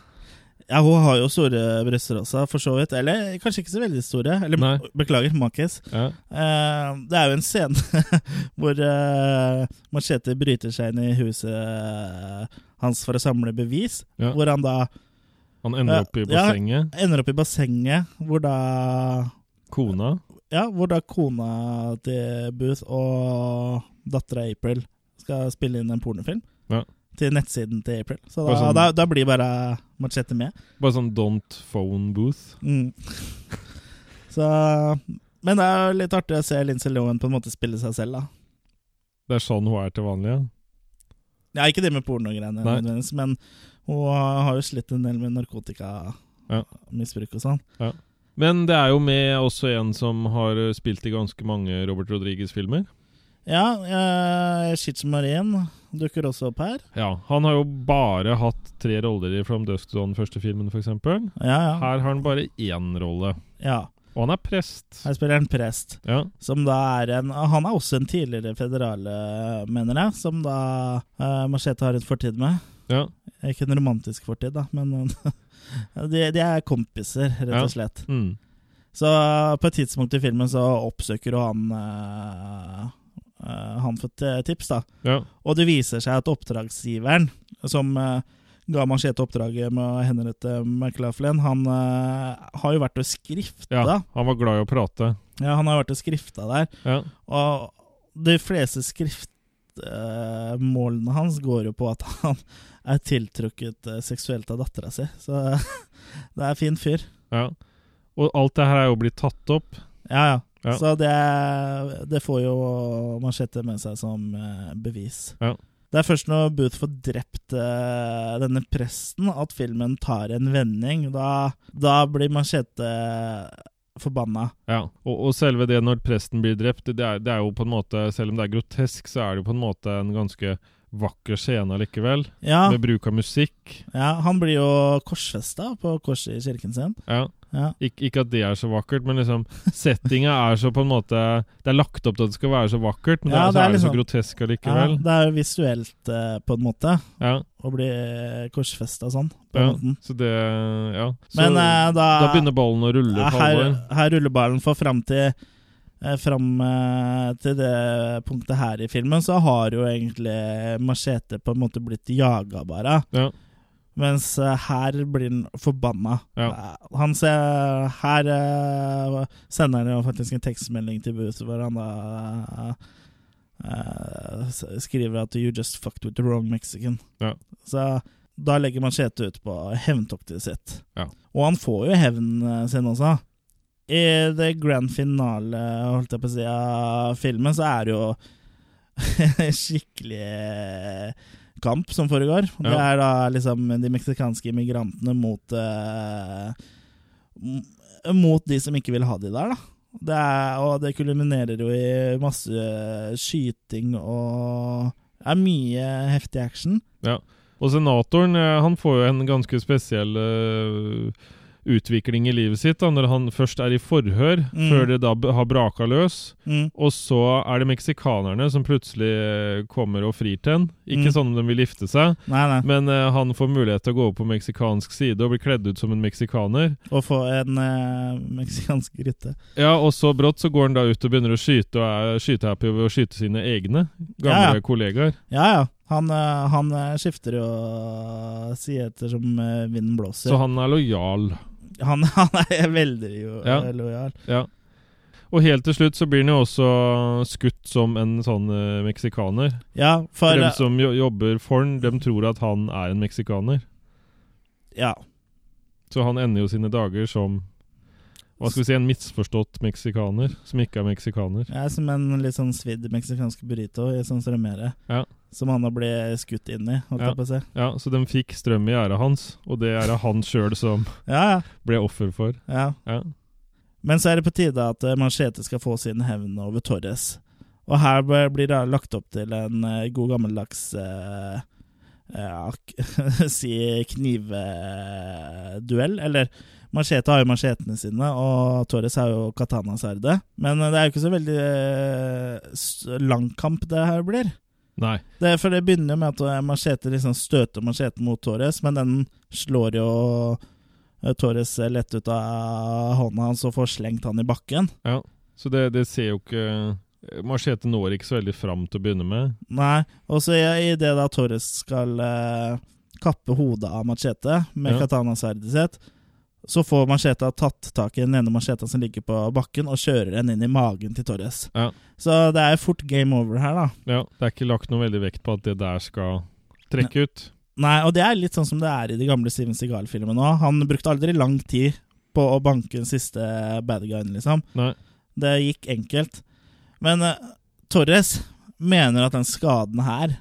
[SPEAKER 1] Ja, hun har jo store bryster også, for så vidt. Eller kanskje ikke så veldig store. Eller
[SPEAKER 2] Nei.
[SPEAKER 1] beklager, makis.
[SPEAKER 2] ja.
[SPEAKER 1] Eh, det er jo en scene hvor eh, Machete bryter seg inn i huset eh, hans for å samle bevis,
[SPEAKER 2] Ja.
[SPEAKER 1] hvor han da
[SPEAKER 2] Han ender
[SPEAKER 1] Ja,
[SPEAKER 2] opp i
[SPEAKER 1] ja.
[SPEAKER 2] bassenget.
[SPEAKER 1] ender opp i bassenget, hvor da
[SPEAKER 2] Kona.
[SPEAKER 1] Ja, hvor da kona til Booth og dattera April skal spille inn en pornofilm.
[SPEAKER 2] Ja.
[SPEAKER 1] Til nettsiden til April. Så da,
[SPEAKER 2] Bare sånn-
[SPEAKER 1] da, da blir bare Machete med.
[SPEAKER 2] Bare sånn don't phone booth.
[SPEAKER 1] Mm. Så Men det er jo litt artig å se Lindsay Lohan på en måte spille seg selv, da.
[SPEAKER 2] Det er sånn hun er til vanlig. ja.
[SPEAKER 1] Ja, ikke det med pornogreiene,
[SPEAKER 2] Nei.
[SPEAKER 1] nødvendigvis, men hun har jo slitt en del med
[SPEAKER 2] Ja.
[SPEAKER 1] narkotikamisbruk og sånn.
[SPEAKER 2] Men det er jo med også en som har eh, spilt i ganske mange Robert Rodriguez-filmer.
[SPEAKER 1] Ja, eh, Shitch Marine dukker også opp her.
[SPEAKER 2] Ja, Han har jo bare hatt tre roller i From Dusk to Dawn, første filmen, f.eks. Her
[SPEAKER 1] Ja, ja.
[SPEAKER 2] har han bare én rolle.
[SPEAKER 1] ja.
[SPEAKER 2] Og han er prest.
[SPEAKER 1] Her spiller han prest,
[SPEAKER 2] Ja,
[SPEAKER 1] som da er en Han er også en tidligere federale, mener jeg, som da eh, Machete har en fortid med.
[SPEAKER 2] ja.
[SPEAKER 1] Ikke en romantisk fortid, da, men de, de er kompiser, rett
[SPEAKER 2] Ja.
[SPEAKER 1] og slett.
[SPEAKER 2] Mm.
[SPEAKER 1] Så eh, på et tidspunkt i filmen så oppsøker jo han eh, eh, Han for t- tips, da.
[SPEAKER 2] ja.
[SPEAKER 1] Og det viser seg at oppdragsgiveren, som eh, ga Machete oppdraget med å henrette McLaughlin, han eh, har jo vært og skrifta.
[SPEAKER 2] ja.
[SPEAKER 1] Ja.
[SPEAKER 2] Han var glad i å prate.
[SPEAKER 1] han har vært og skrifta der.
[SPEAKER 2] Ja.
[SPEAKER 1] Og de fleste skrift, eh, målene hans går jo på at han er tiltrukket eh, seksuelt av dattera si. Så det er en fin fyr.
[SPEAKER 2] Ja. Og alt det her er jo blitt tatt opp.
[SPEAKER 1] Ja, ja.
[SPEAKER 2] Ja.
[SPEAKER 1] Så det, det får jo Machete med seg som eh, bevis.
[SPEAKER 2] Ja.
[SPEAKER 1] Det er først når Booth får drept eh, denne presten, at filmen tar en vending. Da, da blir Machete eh, forbanna.
[SPEAKER 2] Ja. Og, og selve det når presten blir drept, det er, det er jo på en måte Selv om det er grotesk, så er det jo på en måte en ganske vakker scene allikevel.
[SPEAKER 1] Ja,
[SPEAKER 2] Med bruk av musikk.
[SPEAKER 1] ja, han blir jo korsfesta på korset i kirken sin.
[SPEAKER 2] Ja.
[SPEAKER 1] Ja,
[SPEAKER 2] Ik ikke at det er så vakkert, men liksom settinga er så på en måte Det er lagt opp til at det skal være så vakkert, men
[SPEAKER 1] Ja,
[SPEAKER 2] det, er, så er det
[SPEAKER 1] liksom-
[SPEAKER 2] så grotesk
[SPEAKER 1] ja
[SPEAKER 2] allikevel.
[SPEAKER 1] Det er jo visuelt, eh, på en måte,
[SPEAKER 2] Ja,
[SPEAKER 1] å bli korsfesta sånn. På
[SPEAKER 2] ja.
[SPEAKER 1] den måten.
[SPEAKER 2] Så det Ja. Så
[SPEAKER 1] Men eh, da
[SPEAKER 2] da begynner ballen å rulle
[SPEAKER 1] Ja,
[SPEAKER 2] for
[SPEAKER 1] her,
[SPEAKER 2] alvor.
[SPEAKER 1] her ruller ballen for fram til eh, Fram eh, til det punktet her i filmen så har jo egentlig Machete på en måte blitt jaga, bare.
[SPEAKER 2] Ja.
[SPEAKER 1] Mens eh, her blir han forbanna.
[SPEAKER 2] Ja.
[SPEAKER 1] Eh, Han ser Her eh, sender han jo faktisk en tekstmelding til Booth hvor han da eh, eh, s- skriver at 'You just fucked with the wrong Mexican'.
[SPEAKER 2] Ja.
[SPEAKER 1] Så da legger Machete ut på hevntoktet sitt.
[SPEAKER 2] Ja.
[SPEAKER 1] Og han får jo hevnen sin også. I det grand finale holdt jeg på å si, av filmen, så er det jo skikkelig eh, kamp som foregår. Det
[SPEAKER 2] Ja.
[SPEAKER 1] er da liksom de meksikanske immigrantene mot eh, m- Mot de som ikke vil ha de der, da. Det er, og det kulminerer jo i masse skyting og Det er mye heftig action.
[SPEAKER 2] Og senatoren eh, han får jo en ganske spesiell eh, utvikling i livet sitt da, når han først er i forhør,
[SPEAKER 1] Mm.
[SPEAKER 2] før det da b- har braka løs.
[SPEAKER 1] Mm.
[SPEAKER 2] Og så er det meksikanerne som plutselig eh, kommer og frir til en. Ikke
[SPEAKER 1] Mm.
[SPEAKER 2] sånn om de vil gifte seg,
[SPEAKER 1] Nei, nei.
[SPEAKER 2] men eh, han får mulighet til å gå over på meksikansk side og bli kledd ut som en meksikaner.
[SPEAKER 1] Å få en eh, meksikansk rytte.
[SPEAKER 2] Ja, og så brått så går han da ut og begynner å skyte, og er skytehappy ved å skyte sine egne
[SPEAKER 1] Ja,
[SPEAKER 2] gamle
[SPEAKER 1] ja.
[SPEAKER 2] kollegaer.
[SPEAKER 1] Ja, ja. Han, eh, han eh, skifter jo side ettersom eh, vinden blåser.
[SPEAKER 2] Så han er lojal.
[SPEAKER 1] han, han er veldig jo,
[SPEAKER 2] Ja.
[SPEAKER 1] eh, lojal.
[SPEAKER 2] Ja. Og helt til slutt så blir han jo også skutt som en sånn eh, meksikaner.
[SPEAKER 1] Ja, for
[SPEAKER 2] For
[SPEAKER 1] eh,
[SPEAKER 2] dem som jo jobber for han, dem tror at han er en meksikaner.
[SPEAKER 1] Ja.
[SPEAKER 2] Så han ender jo sine dager som hva skal vi si, en misforstått meksikaner som ikke er meksikaner.
[SPEAKER 1] Jeg er som en litt sånn svidd meksikansk burrito i sånn strømmere.
[SPEAKER 2] Ja.
[SPEAKER 1] Som han har blitt skutt inn i, holdt
[SPEAKER 2] Ja.
[SPEAKER 1] jeg på å si.
[SPEAKER 2] Ja, Så de fikk strøm i gjerdet hans, og det er det han sjøl som
[SPEAKER 1] Ja, ja.
[SPEAKER 2] ble offer for.
[SPEAKER 1] ja.
[SPEAKER 2] Ja.
[SPEAKER 1] Men så er det på tide at eh, Manchete skal få sin hevn over Torres. Og her b- blir det lagt opp til en eh, god gammeldags eh, ja, k- si knivduell, eller Machete har jo machetene sine, og Torres har jo katana-sverdet. Men eh, det er jo ikke så veldig eh, s- lang kamp det her blir.
[SPEAKER 2] Nei.
[SPEAKER 1] Det, er- for det begynner jo med at eh, machete liksom støter macheten mot Torres, men den slår jo eh, Torres lett ut av hånda hans og får slengt han i bakken.
[SPEAKER 2] Så det, det ser jo ikke Machete når ikke så veldig fram til å begynne med.
[SPEAKER 1] Nei, og så i, i det da Torres skal eh, kappe hodet av machete med
[SPEAKER 2] Ja.
[SPEAKER 1] katana-sverdet sitt, så får macheta tatt tak i den ene macheta som ligger på bakken, og kjører den inn i magen til Torres.
[SPEAKER 2] Ja.
[SPEAKER 1] Så det er fort game over her, da.
[SPEAKER 2] Ja, Det er ikke lagt noe veldig vekt på at det der skal trekke ut.
[SPEAKER 1] Nei, og det er litt sånn som det er i de gamle Steven Seagal-filmene òg. Han brukte aldri lang tid på å banke den siste bad guyen, liksom.
[SPEAKER 2] Nei.
[SPEAKER 1] Det gikk enkelt. Men eh, Torres mener at den skaden her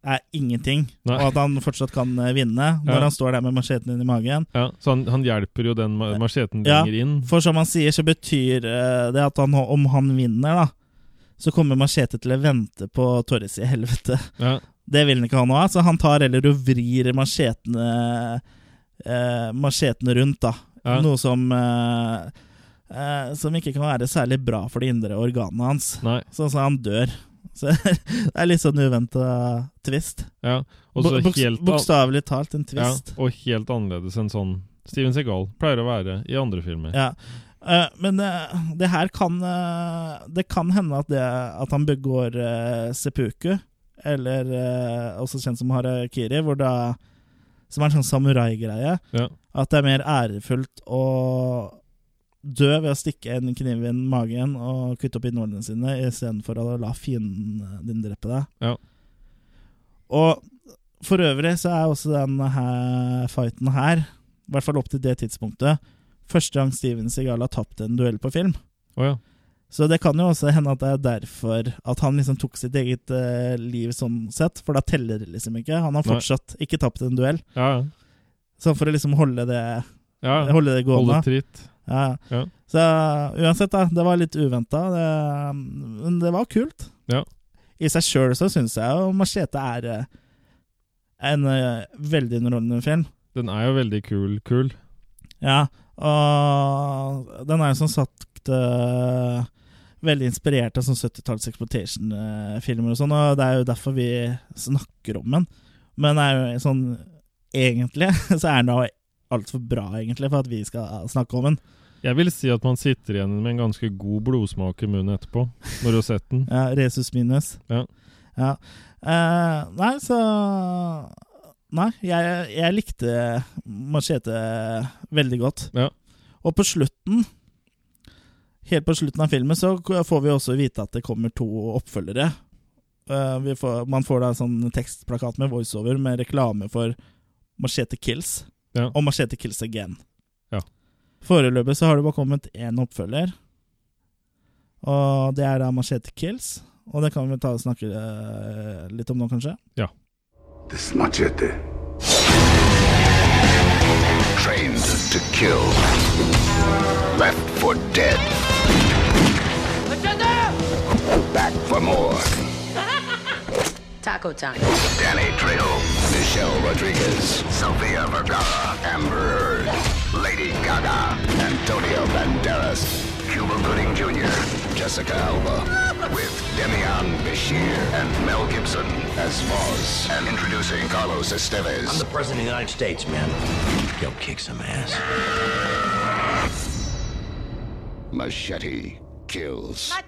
[SPEAKER 1] er ingenting,
[SPEAKER 2] Nei.
[SPEAKER 1] og at han fortsatt kan eh, vinne når
[SPEAKER 2] Ja.
[SPEAKER 1] han står der med macheten inn i magen.
[SPEAKER 2] Ja, Så han, han hjelper jo den ma- macheten
[SPEAKER 1] Ja.
[SPEAKER 2] lenger inn.
[SPEAKER 1] For som han sier, så betyr eh, det at han, om han vinner, da, så kommer machete til å vente på Torres i helvete.
[SPEAKER 2] Ja,
[SPEAKER 1] Det vil han ikke ha noe av, så han tar heller og vrir machetene eh, Machetene rundt, da.
[SPEAKER 2] ja,
[SPEAKER 1] Noe som eh, eh, Som ikke kan være særlig bra for de indre organene hans.
[SPEAKER 2] Nei.
[SPEAKER 1] Sånn som han dør. Så det er litt sånn uventa twist.
[SPEAKER 2] Ja. Og så
[SPEAKER 1] Bu- buks-
[SPEAKER 2] helt an-
[SPEAKER 1] Bokstavelig talt en
[SPEAKER 2] ja,
[SPEAKER 1] twist.
[SPEAKER 2] og helt annerledes enn sånn Steven Segal pleier å være i andre filmer.
[SPEAKER 1] Ja. Eh, men eh, det her kan eh, Det kan hende at, det, at han begår eh, seppuku, eller eh, også kjent som harakiri, hvor da, som er en sånn samurai-greie.
[SPEAKER 2] Ja.
[SPEAKER 1] At det er mer ærefullt å dø ved å stikke en kniv i magen og kutte opp innvollene sine, istedenfor å la fienden din drepe deg.
[SPEAKER 2] Ja.
[SPEAKER 1] Og for øvrig så er også denne her fighten her, i hvert fall opp til det tidspunktet, første gang Steven Seagal har tapt en duell på film.
[SPEAKER 2] Å ja.
[SPEAKER 1] Så det kan jo også hende at det er derfor at han liksom tok sitt eget eh, liv sånn sett, for da teller det liksom ikke. Han har
[SPEAKER 2] Nei.
[SPEAKER 1] fortsatt ikke tapt en duell,
[SPEAKER 2] Ja,
[SPEAKER 1] sånn for å liksom holde det,
[SPEAKER 2] ja. ja.
[SPEAKER 1] holde det gående.
[SPEAKER 2] Holde tritt.
[SPEAKER 1] Ja.
[SPEAKER 2] Ja.
[SPEAKER 1] Så uansett, da. Det var litt uventa. det- Men det var kult.
[SPEAKER 2] Ja.
[SPEAKER 1] I seg sjøl så syns jeg jo Machete er eh, en eh, veldig underholdende film.
[SPEAKER 2] Den er jo veldig kul, kul.
[SPEAKER 1] Ja. Og den er jo som sagt eh, veldig inspirert av sånn 70-talls exploitation-filmer og sånn, og det er jo derfor vi snakker om den. Men det er jo sånn Egentlig så er den jo altfor bra, egentlig, for at vi skal snakke om den.
[SPEAKER 2] Jeg vil si at man sitter igjen med en ganske god blodsmak i munnen etterpå, når du har sett den.
[SPEAKER 1] Ja, Resus minus.
[SPEAKER 2] Mm. Ja.
[SPEAKER 1] Ja. Eh, nei, så Nei, jeg, jeg likte Machete veldig godt.
[SPEAKER 2] Ja.
[SPEAKER 1] Og på slutten Helt på slutten av filmen så får vi også vite at det kommer to oppfølgere. Eh, vi får, man får da en sånn tekstplakat med voiceover med reklame for Machete Kills
[SPEAKER 2] Ja.
[SPEAKER 1] og Machete Kills Again.
[SPEAKER 2] Ja.
[SPEAKER 1] Foreløpig så har det bare kommet én oppfølger, og det er da Machete Kills. Og det kan vi ta og snakke eh, litt om nå, kanskje.
[SPEAKER 3] This machete. Trained to kill. Left for dead. Back for more.
[SPEAKER 7] Taco time.
[SPEAKER 3] Danny Trejo, Michelle Rodriguez, Sofia Vergara, Amber Heard, Lady Gaga, Antonio Banderas, Cuba Gooding Jr., Jessica Alba, with Demian Bashir and Mel Gibson as Voz, and introducing Carlos Estevez.
[SPEAKER 8] I'm the President of the United States, man. Go kick some ass.
[SPEAKER 3] Machete kills.
[SPEAKER 5] Ah,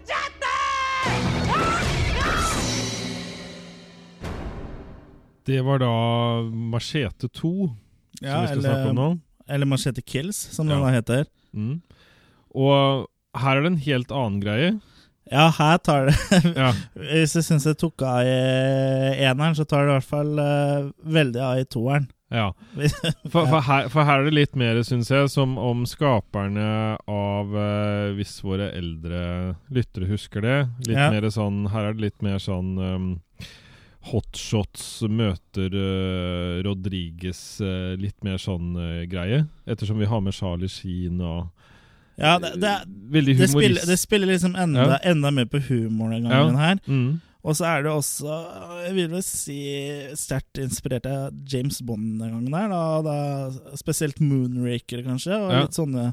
[SPEAKER 2] Det var da Machete 2, som vi skal snakke om nå.
[SPEAKER 1] um, eller Machete Kills, som den
[SPEAKER 2] um, Ja.
[SPEAKER 1] da heter.
[SPEAKER 2] Mm. Og her er det en helt annen greie.
[SPEAKER 1] Ja, her tar det
[SPEAKER 2] Ja,
[SPEAKER 1] Hvis jeg syns det tok av i eneren, så tar det i hvert fall eh, veldig av i toeren.
[SPEAKER 2] ja. For, for, her, for her er det litt mer, syns jeg, som om skaperne av eh, Hvis våre eldre lyttere husker det. Litt
[SPEAKER 1] Ja.
[SPEAKER 2] mer sånn Her er det litt mer sånn um, Hotshots møter eh, Rodriguez eh, Litt mer sånn eh, greie. Ettersom vi har med Charlie Sheen og
[SPEAKER 1] ja, det, det,
[SPEAKER 2] Veldig
[SPEAKER 1] det,
[SPEAKER 2] humorist.
[SPEAKER 1] spiller, det spiller liksom enda,
[SPEAKER 2] Ja.
[SPEAKER 1] enda mer på humoren den
[SPEAKER 2] Ja.
[SPEAKER 1] gangen her.
[SPEAKER 2] Mm.
[SPEAKER 1] Og så er det også, jeg vil vel si, sterkt inspirert av James Bond den gangen her. Da, da, spesielt Moonraker, kanskje, og
[SPEAKER 2] Ja.
[SPEAKER 1] litt sånne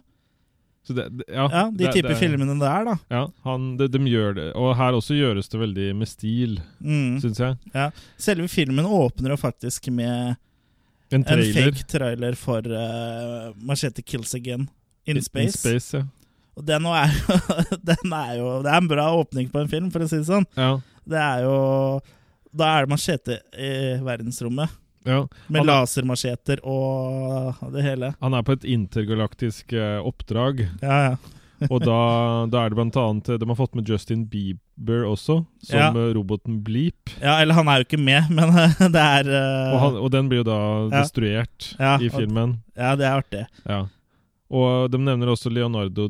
[SPEAKER 2] Så det, det, ja,
[SPEAKER 1] Ja, de
[SPEAKER 2] det-
[SPEAKER 1] typer
[SPEAKER 2] det-
[SPEAKER 1] filmene der, da.
[SPEAKER 2] Ja, han, de, de gjør det. Og her også gjøres det veldig med stil,
[SPEAKER 1] Mm.
[SPEAKER 2] syns jeg.
[SPEAKER 1] Ja. Selve filmen åpner jo faktisk med
[SPEAKER 2] En
[SPEAKER 1] en
[SPEAKER 2] trailer.
[SPEAKER 1] fake trailer for eh, Machete Kills Again in, Space.
[SPEAKER 2] In space ja.
[SPEAKER 1] Og den nå er, jo- den er jo Det er en bra åpning på en film, for å si det sånn.
[SPEAKER 2] ja.
[SPEAKER 1] Det er jo Da er det machete i verdensrommet.
[SPEAKER 2] ja.
[SPEAKER 1] Med
[SPEAKER 2] Han, er,
[SPEAKER 1] lasermacheter og det hele.
[SPEAKER 2] han er på et intergalaktisk eh, oppdrag,
[SPEAKER 1] Ja, ja.
[SPEAKER 2] og da, da er det blant annet eh, De har fått med Justin Bieber også, som
[SPEAKER 1] Ja.
[SPEAKER 2] eh, roboten Bleep.
[SPEAKER 1] ja, eller han er jo ikke med, men det er eh,
[SPEAKER 2] Og, han, og den blir jo da
[SPEAKER 1] Ja.
[SPEAKER 2] destruert
[SPEAKER 1] Ja,
[SPEAKER 2] i
[SPEAKER 1] og-
[SPEAKER 2] filmen.
[SPEAKER 1] Ja, det er artig.
[SPEAKER 2] Ja. Og de nevner også Leonardo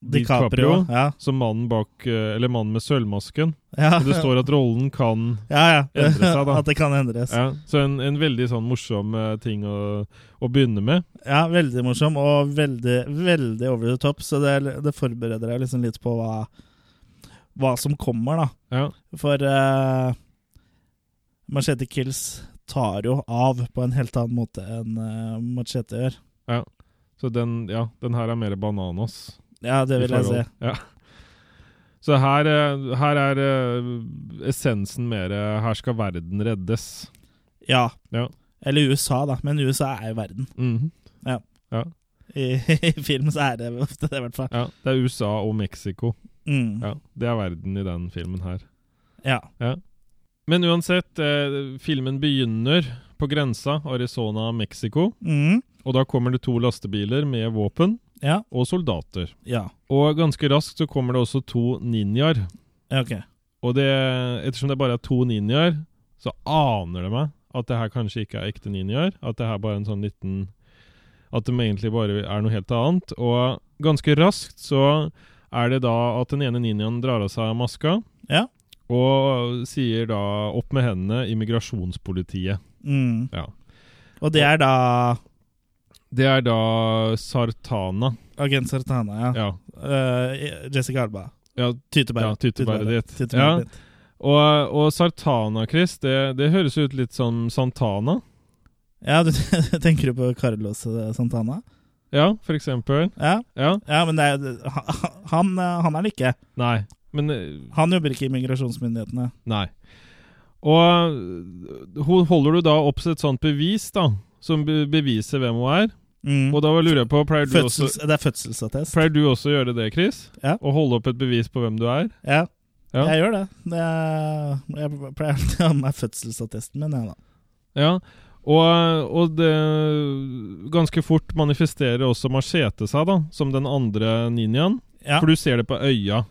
[SPEAKER 2] DiCaprio.
[SPEAKER 1] DiCaprio. Ja.
[SPEAKER 2] Som mannen bak eh, Eller mannen med sølvmasken.
[SPEAKER 1] Ja.
[SPEAKER 2] Og det står at rollen kan
[SPEAKER 1] ja, ja.
[SPEAKER 2] Endre seg, da.
[SPEAKER 1] At det kan endres.
[SPEAKER 2] Ja, så en, en veldig sånn morsom eh, ting å, å begynne med.
[SPEAKER 1] Ja, veldig morsom og veldig, veldig over the top, så det, det forbereder deg liksom litt på hva, hva som kommer, da.
[SPEAKER 2] Ja,
[SPEAKER 1] For eh, Machete Kills tar jo av på en helt annen måte enn eh, Machete gjør.
[SPEAKER 2] ja. Så den, ja, den her er mer bananas.
[SPEAKER 1] Ja, det
[SPEAKER 2] i
[SPEAKER 1] vil jeg si.
[SPEAKER 2] forhold. Ja. Så her, eh, her er eh, essensen mer eh, Her skal verden reddes.
[SPEAKER 1] Ja.
[SPEAKER 2] Ja.
[SPEAKER 1] Eller USA, da. Men USA er jo verden.
[SPEAKER 2] Mhm.
[SPEAKER 1] I, i film så er det ofte det, i hvert fall.
[SPEAKER 2] ja, Det er USA og Mexico.
[SPEAKER 1] Mm.
[SPEAKER 2] Ja, det er verden i den filmen her.
[SPEAKER 1] Ja.
[SPEAKER 2] Men uansett, eh, filmen begynner på grensa Arizona-Mexico.
[SPEAKER 1] Mm.
[SPEAKER 2] Og da kommer det to lastebiler med våpen.
[SPEAKER 1] Ja.
[SPEAKER 2] og soldater.
[SPEAKER 1] Ja.
[SPEAKER 2] Og ganske raskt så kommer det også to ninjaer.
[SPEAKER 1] ja ok.
[SPEAKER 2] Og det, ettersom det bare er to ninjaer, så aner det meg at det her kanskje ikke er ekte ninjaer. At det her bare er en sånn liten At de egentlig bare er noe helt annet. Og ganske raskt så er det da at den ene ninjaen drar av seg maska.
[SPEAKER 1] Ja.
[SPEAKER 2] Og sier da 'opp med hendene, immigrasjonspolitiet'.
[SPEAKER 1] Mm.
[SPEAKER 2] Ja.
[SPEAKER 1] Og det er da
[SPEAKER 2] Det er da Sartana.
[SPEAKER 1] Agent Sartana, ja.
[SPEAKER 2] Ja.
[SPEAKER 1] Eh, Jessica Alba.
[SPEAKER 2] ja.
[SPEAKER 1] Tyteberg.
[SPEAKER 2] Ja, tyttebæret ditt.
[SPEAKER 1] Tyttebæret
[SPEAKER 2] Ja.
[SPEAKER 1] ditt.
[SPEAKER 2] Og, og Sartana, Chris, det, det høres ut litt som Santana.
[SPEAKER 1] Ja, du tenker du på Carlos eh, Santana?
[SPEAKER 2] Ja, for eksempel.
[SPEAKER 1] Ja,
[SPEAKER 2] Ja.
[SPEAKER 1] ja men det er, han, eh, han er det ikke.
[SPEAKER 2] Nei. Men eh,
[SPEAKER 1] Han jobber ikke i migrasjonsmyndighetene.
[SPEAKER 2] Nei. Og øh, ho- holder du da opp et sånt bevis, da, som be- beviser hvem hun er?
[SPEAKER 1] Mm.
[SPEAKER 2] Og da lurer jeg på, pleier du, også,
[SPEAKER 1] Fødsels, det er fødselsattest.
[SPEAKER 2] pleier du også å gjøre det, Chris?
[SPEAKER 1] Ja.
[SPEAKER 2] Å holde opp et bevis på hvem du er?
[SPEAKER 1] Ja.
[SPEAKER 2] Ja.
[SPEAKER 1] Jeg gjør det. det er, jeg pleier alltid å ha med meg fødselsattesten min. Jeg, da.
[SPEAKER 2] Ja. Og, og det ganske fort manifesterer også Machete seg, da, som den andre ninjaen.
[SPEAKER 1] Ja.
[SPEAKER 2] For du ser det på øya.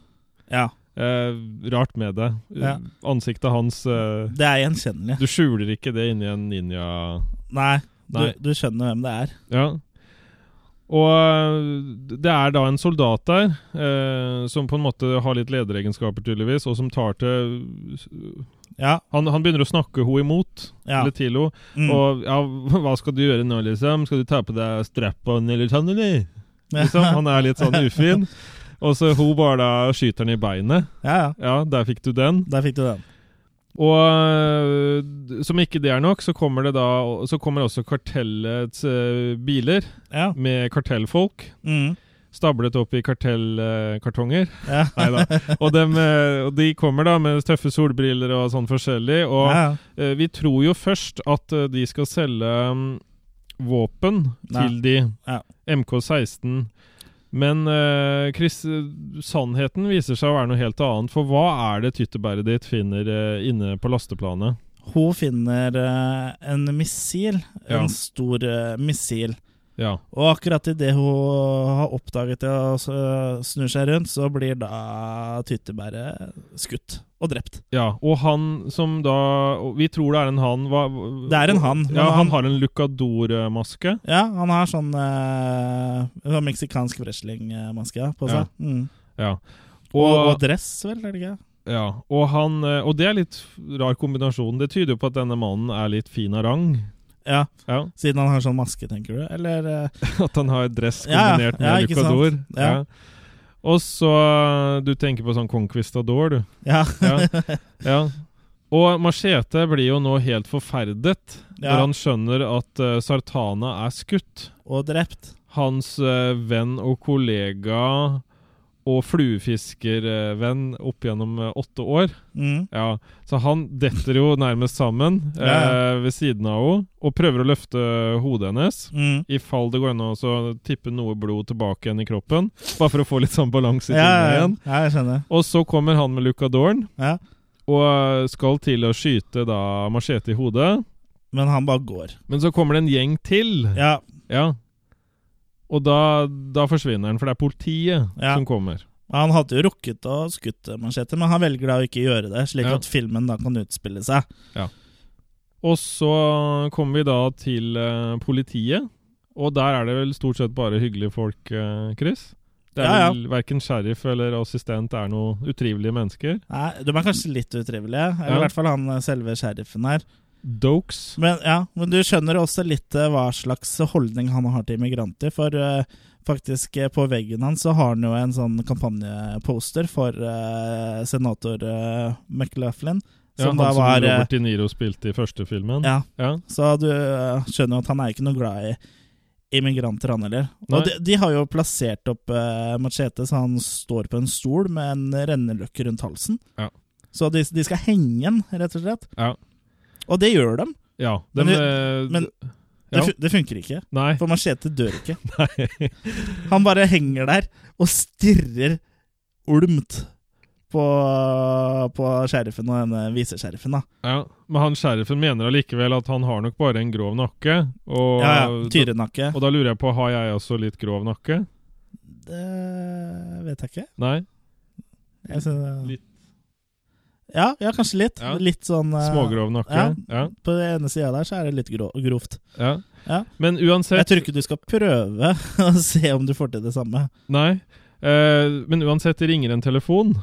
[SPEAKER 1] ja.
[SPEAKER 2] Eh, rart med det.
[SPEAKER 1] Ja.
[SPEAKER 2] Ansiktet hans eh,
[SPEAKER 1] Det er gjenkjennelig.
[SPEAKER 2] Du skjuler ikke det inni en ninja...
[SPEAKER 1] Nei, du,
[SPEAKER 2] Nei.
[SPEAKER 1] du skjønner hvem det er.
[SPEAKER 2] Ja. Og øh, det er da en soldat der, eh, som på en måte har litt lederegenskaper, tydeligvis, og som tar til
[SPEAKER 1] Ja.
[SPEAKER 2] Han, han begynner å snakke henne imot,
[SPEAKER 1] ja.
[SPEAKER 2] eller til henne.
[SPEAKER 1] Mm.
[SPEAKER 2] Og ja, 'Hva skal du gjøre nå, liksom? Skal du ta på deg strap-on eller sånn, eller?' Liksom. Han er litt sånn ufin. Og så hun bare da skyter han i beinet.
[SPEAKER 1] ja, ja.
[SPEAKER 2] Ja, der fikk du den.
[SPEAKER 1] Der fikk du den.
[SPEAKER 2] Og øh, d- som ikke det er nok, så kommer det da Så kommer også kartellets øh, biler
[SPEAKER 1] Ja.
[SPEAKER 2] med kartellfolk.
[SPEAKER 1] Mm.
[SPEAKER 2] stablet opp i kartellkartonger.
[SPEAKER 1] Ja.
[SPEAKER 2] Neida. Og, dem, eh, og de kommer da med tøffe solbriller og sånn forskjellig. Og
[SPEAKER 1] Ja, ja.
[SPEAKER 2] eh, vi tror jo først at eh, de skal selge mm, våpen
[SPEAKER 1] Nei.
[SPEAKER 2] til de.
[SPEAKER 1] Ja.
[SPEAKER 2] MK16. Men eh, Chris, eh, sannheten viser seg å være noe helt annet. For hva er det tyttebæret ditt finner eh, inne på lasteplanet?
[SPEAKER 1] Hun finner eh, en missil.
[SPEAKER 2] Ja.
[SPEAKER 1] En stor eh, missil.
[SPEAKER 2] Ja.
[SPEAKER 1] Og akkurat idet hun har oppdaget det og så snur seg rundt, så blir da tyttebæret skutt og drept.
[SPEAKER 2] ja. Og han som da og Vi tror det er en han. Hva,
[SPEAKER 1] Det er en han, men
[SPEAKER 2] Ja,
[SPEAKER 1] han-
[SPEAKER 2] han har en lucador-maske.
[SPEAKER 1] Ja, han har sånn eh, sånn meksikansk wrestlingmaske på
[SPEAKER 2] Ja.
[SPEAKER 1] seg. Mm.
[SPEAKER 2] Ja.
[SPEAKER 1] Og, og,
[SPEAKER 2] Og,
[SPEAKER 1] dress, vel, er det ikke?
[SPEAKER 2] ja. og, han, eh, og det er litt rar kombinasjon. Det tyder jo på at denne mannen er litt fin av rang.
[SPEAKER 1] Ja,
[SPEAKER 2] Ja.
[SPEAKER 1] Siden han har sånn maske, tenker du? Eller eh,
[SPEAKER 2] At han har dress
[SPEAKER 1] Ja,
[SPEAKER 2] kombinert
[SPEAKER 1] ja,
[SPEAKER 2] med
[SPEAKER 1] ikke sant.
[SPEAKER 2] lucador.
[SPEAKER 1] Ja.
[SPEAKER 2] Og så eh, Du tenker på sånn conquistador, du.
[SPEAKER 1] Ja.
[SPEAKER 2] Ja. ja. Og Machete blir jo nå helt forferdet
[SPEAKER 1] ja
[SPEAKER 2] når han skjønner at eh, Sartana er skutt.
[SPEAKER 1] og drept.
[SPEAKER 2] Hans eh, venn og kollega og fluefiskervenn opp gjennom eh, åtte år.
[SPEAKER 1] Mm.
[SPEAKER 2] Ja, så han detter jo nærmest sammen
[SPEAKER 1] Ja, ja.
[SPEAKER 2] eh, ved siden av henne og prøver å løfte hodet hennes.
[SPEAKER 1] Mm.
[SPEAKER 2] I fall det går an å så tippe noe blod tilbake igjen i kroppen, bare for å få litt sånn balanse i
[SPEAKER 1] Ja,
[SPEAKER 2] tingene
[SPEAKER 1] ja, ja.
[SPEAKER 2] igjen.
[SPEAKER 1] ja, jeg skjønner.
[SPEAKER 2] Og så kommer han med lucadoren
[SPEAKER 1] Ja.
[SPEAKER 2] og eh, skal til å skyte da machete i hodet.
[SPEAKER 1] Men han bare går.
[SPEAKER 2] Men så kommer det en gjeng til. Ja.
[SPEAKER 1] Ja,
[SPEAKER 2] Og da, da forsvinner han, for det er politiet
[SPEAKER 1] Ja.
[SPEAKER 2] som kommer.
[SPEAKER 1] Han hadde jo rukket å skutte machete, men han velger da å ikke gjøre det, slik
[SPEAKER 2] Ja.
[SPEAKER 1] at filmen da kan utspille seg.
[SPEAKER 2] Og så kommer vi da til eh, politiet, og der er det vel stort sett bare hyggelige folk, eh, Chris? Det er
[SPEAKER 1] Ja, ja.
[SPEAKER 2] vel verken sheriff eller assistent er noe utrivelige mennesker.
[SPEAKER 1] Nei, De er kanskje litt utrivelige, eller
[SPEAKER 2] Ja.
[SPEAKER 1] i hvert fall han eh, selve sheriffen her.
[SPEAKER 2] Dokes.
[SPEAKER 1] Men ja, men du skjønner også litt eh, hva slags holdning han har til immigranter, for eh, faktisk eh, på veggen hans så har han jo en sånn kampanjeposter for eh, senator eh, McLaughlin,
[SPEAKER 2] Ja,
[SPEAKER 1] som
[SPEAKER 2] han
[SPEAKER 1] da
[SPEAKER 2] som
[SPEAKER 1] var eh,
[SPEAKER 2] Robert De Niro spilte i første filmen.
[SPEAKER 1] ja,
[SPEAKER 2] Ja.
[SPEAKER 1] Så du eh, skjønner jo at han er ikke noe glad i immigranter, han heller.
[SPEAKER 2] Nei.
[SPEAKER 1] Og de, de har jo plassert opp eh, machete, så han står på en stol med en renneløkke rundt halsen.
[SPEAKER 2] Ja.
[SPEAKER 1] Så de, de skal henge den, rett og slett.
[SPEAKER 2] Ja.
[SPEAKER 1] Og det gjør de,
[SPEAKER 2] ja. Dem,
[SPEAKER 1] Men
[SPEAKER 2] eh,
[SPEAKER 1] men-
[SPEAKER 2] Ja.
[SPEAKER 1] det, fun det funker ikke.
[SPEAKER 2] Nei.
[SPEAKER 1] For machete dør ikke. Han bare henger der og stirrer olmt på, på sheriffen og denne visesheriffen, da.
[SPEAKER 2] Ja. Men han sheriffen mener allikevel at han har nok bare en grov nakke. Og,
[SPEAKER 1] Ja, ja, Tyrenakke.
[SPEAKER 2] og da lurer jeg på, har jeg også litt grov nakke?
[SPEAKER 1] Det vet jeg ikke.
[SPEAKER 2] Nei?
[SPEAKER 1] Eh, Jeg synes,
[SPEAKER 2] Litt.
[SPEAKER 1] Ja, ja, kanskje litt.
[SPEAKER 2] Ja.
[SPEAKER 1] Litt sånn eh,
[SPEAKER 2] Smågrov nakke?
[SPEAKER 1] ja.
[SPEAKER 2] Ja.
[SPEAKER 1] På den ene sida der så er det litt gro grovt.
[SPEAKER 2] Ja.
[SPEAKER 1] Ja.
[SPEAKER 2] Men uansett
[SPEAKER 1] Jeg tror ikke du skal prøve å se om du får til det samme.
[SPEAKER 2] Nei. Eh, men uansett det ringer en telefon,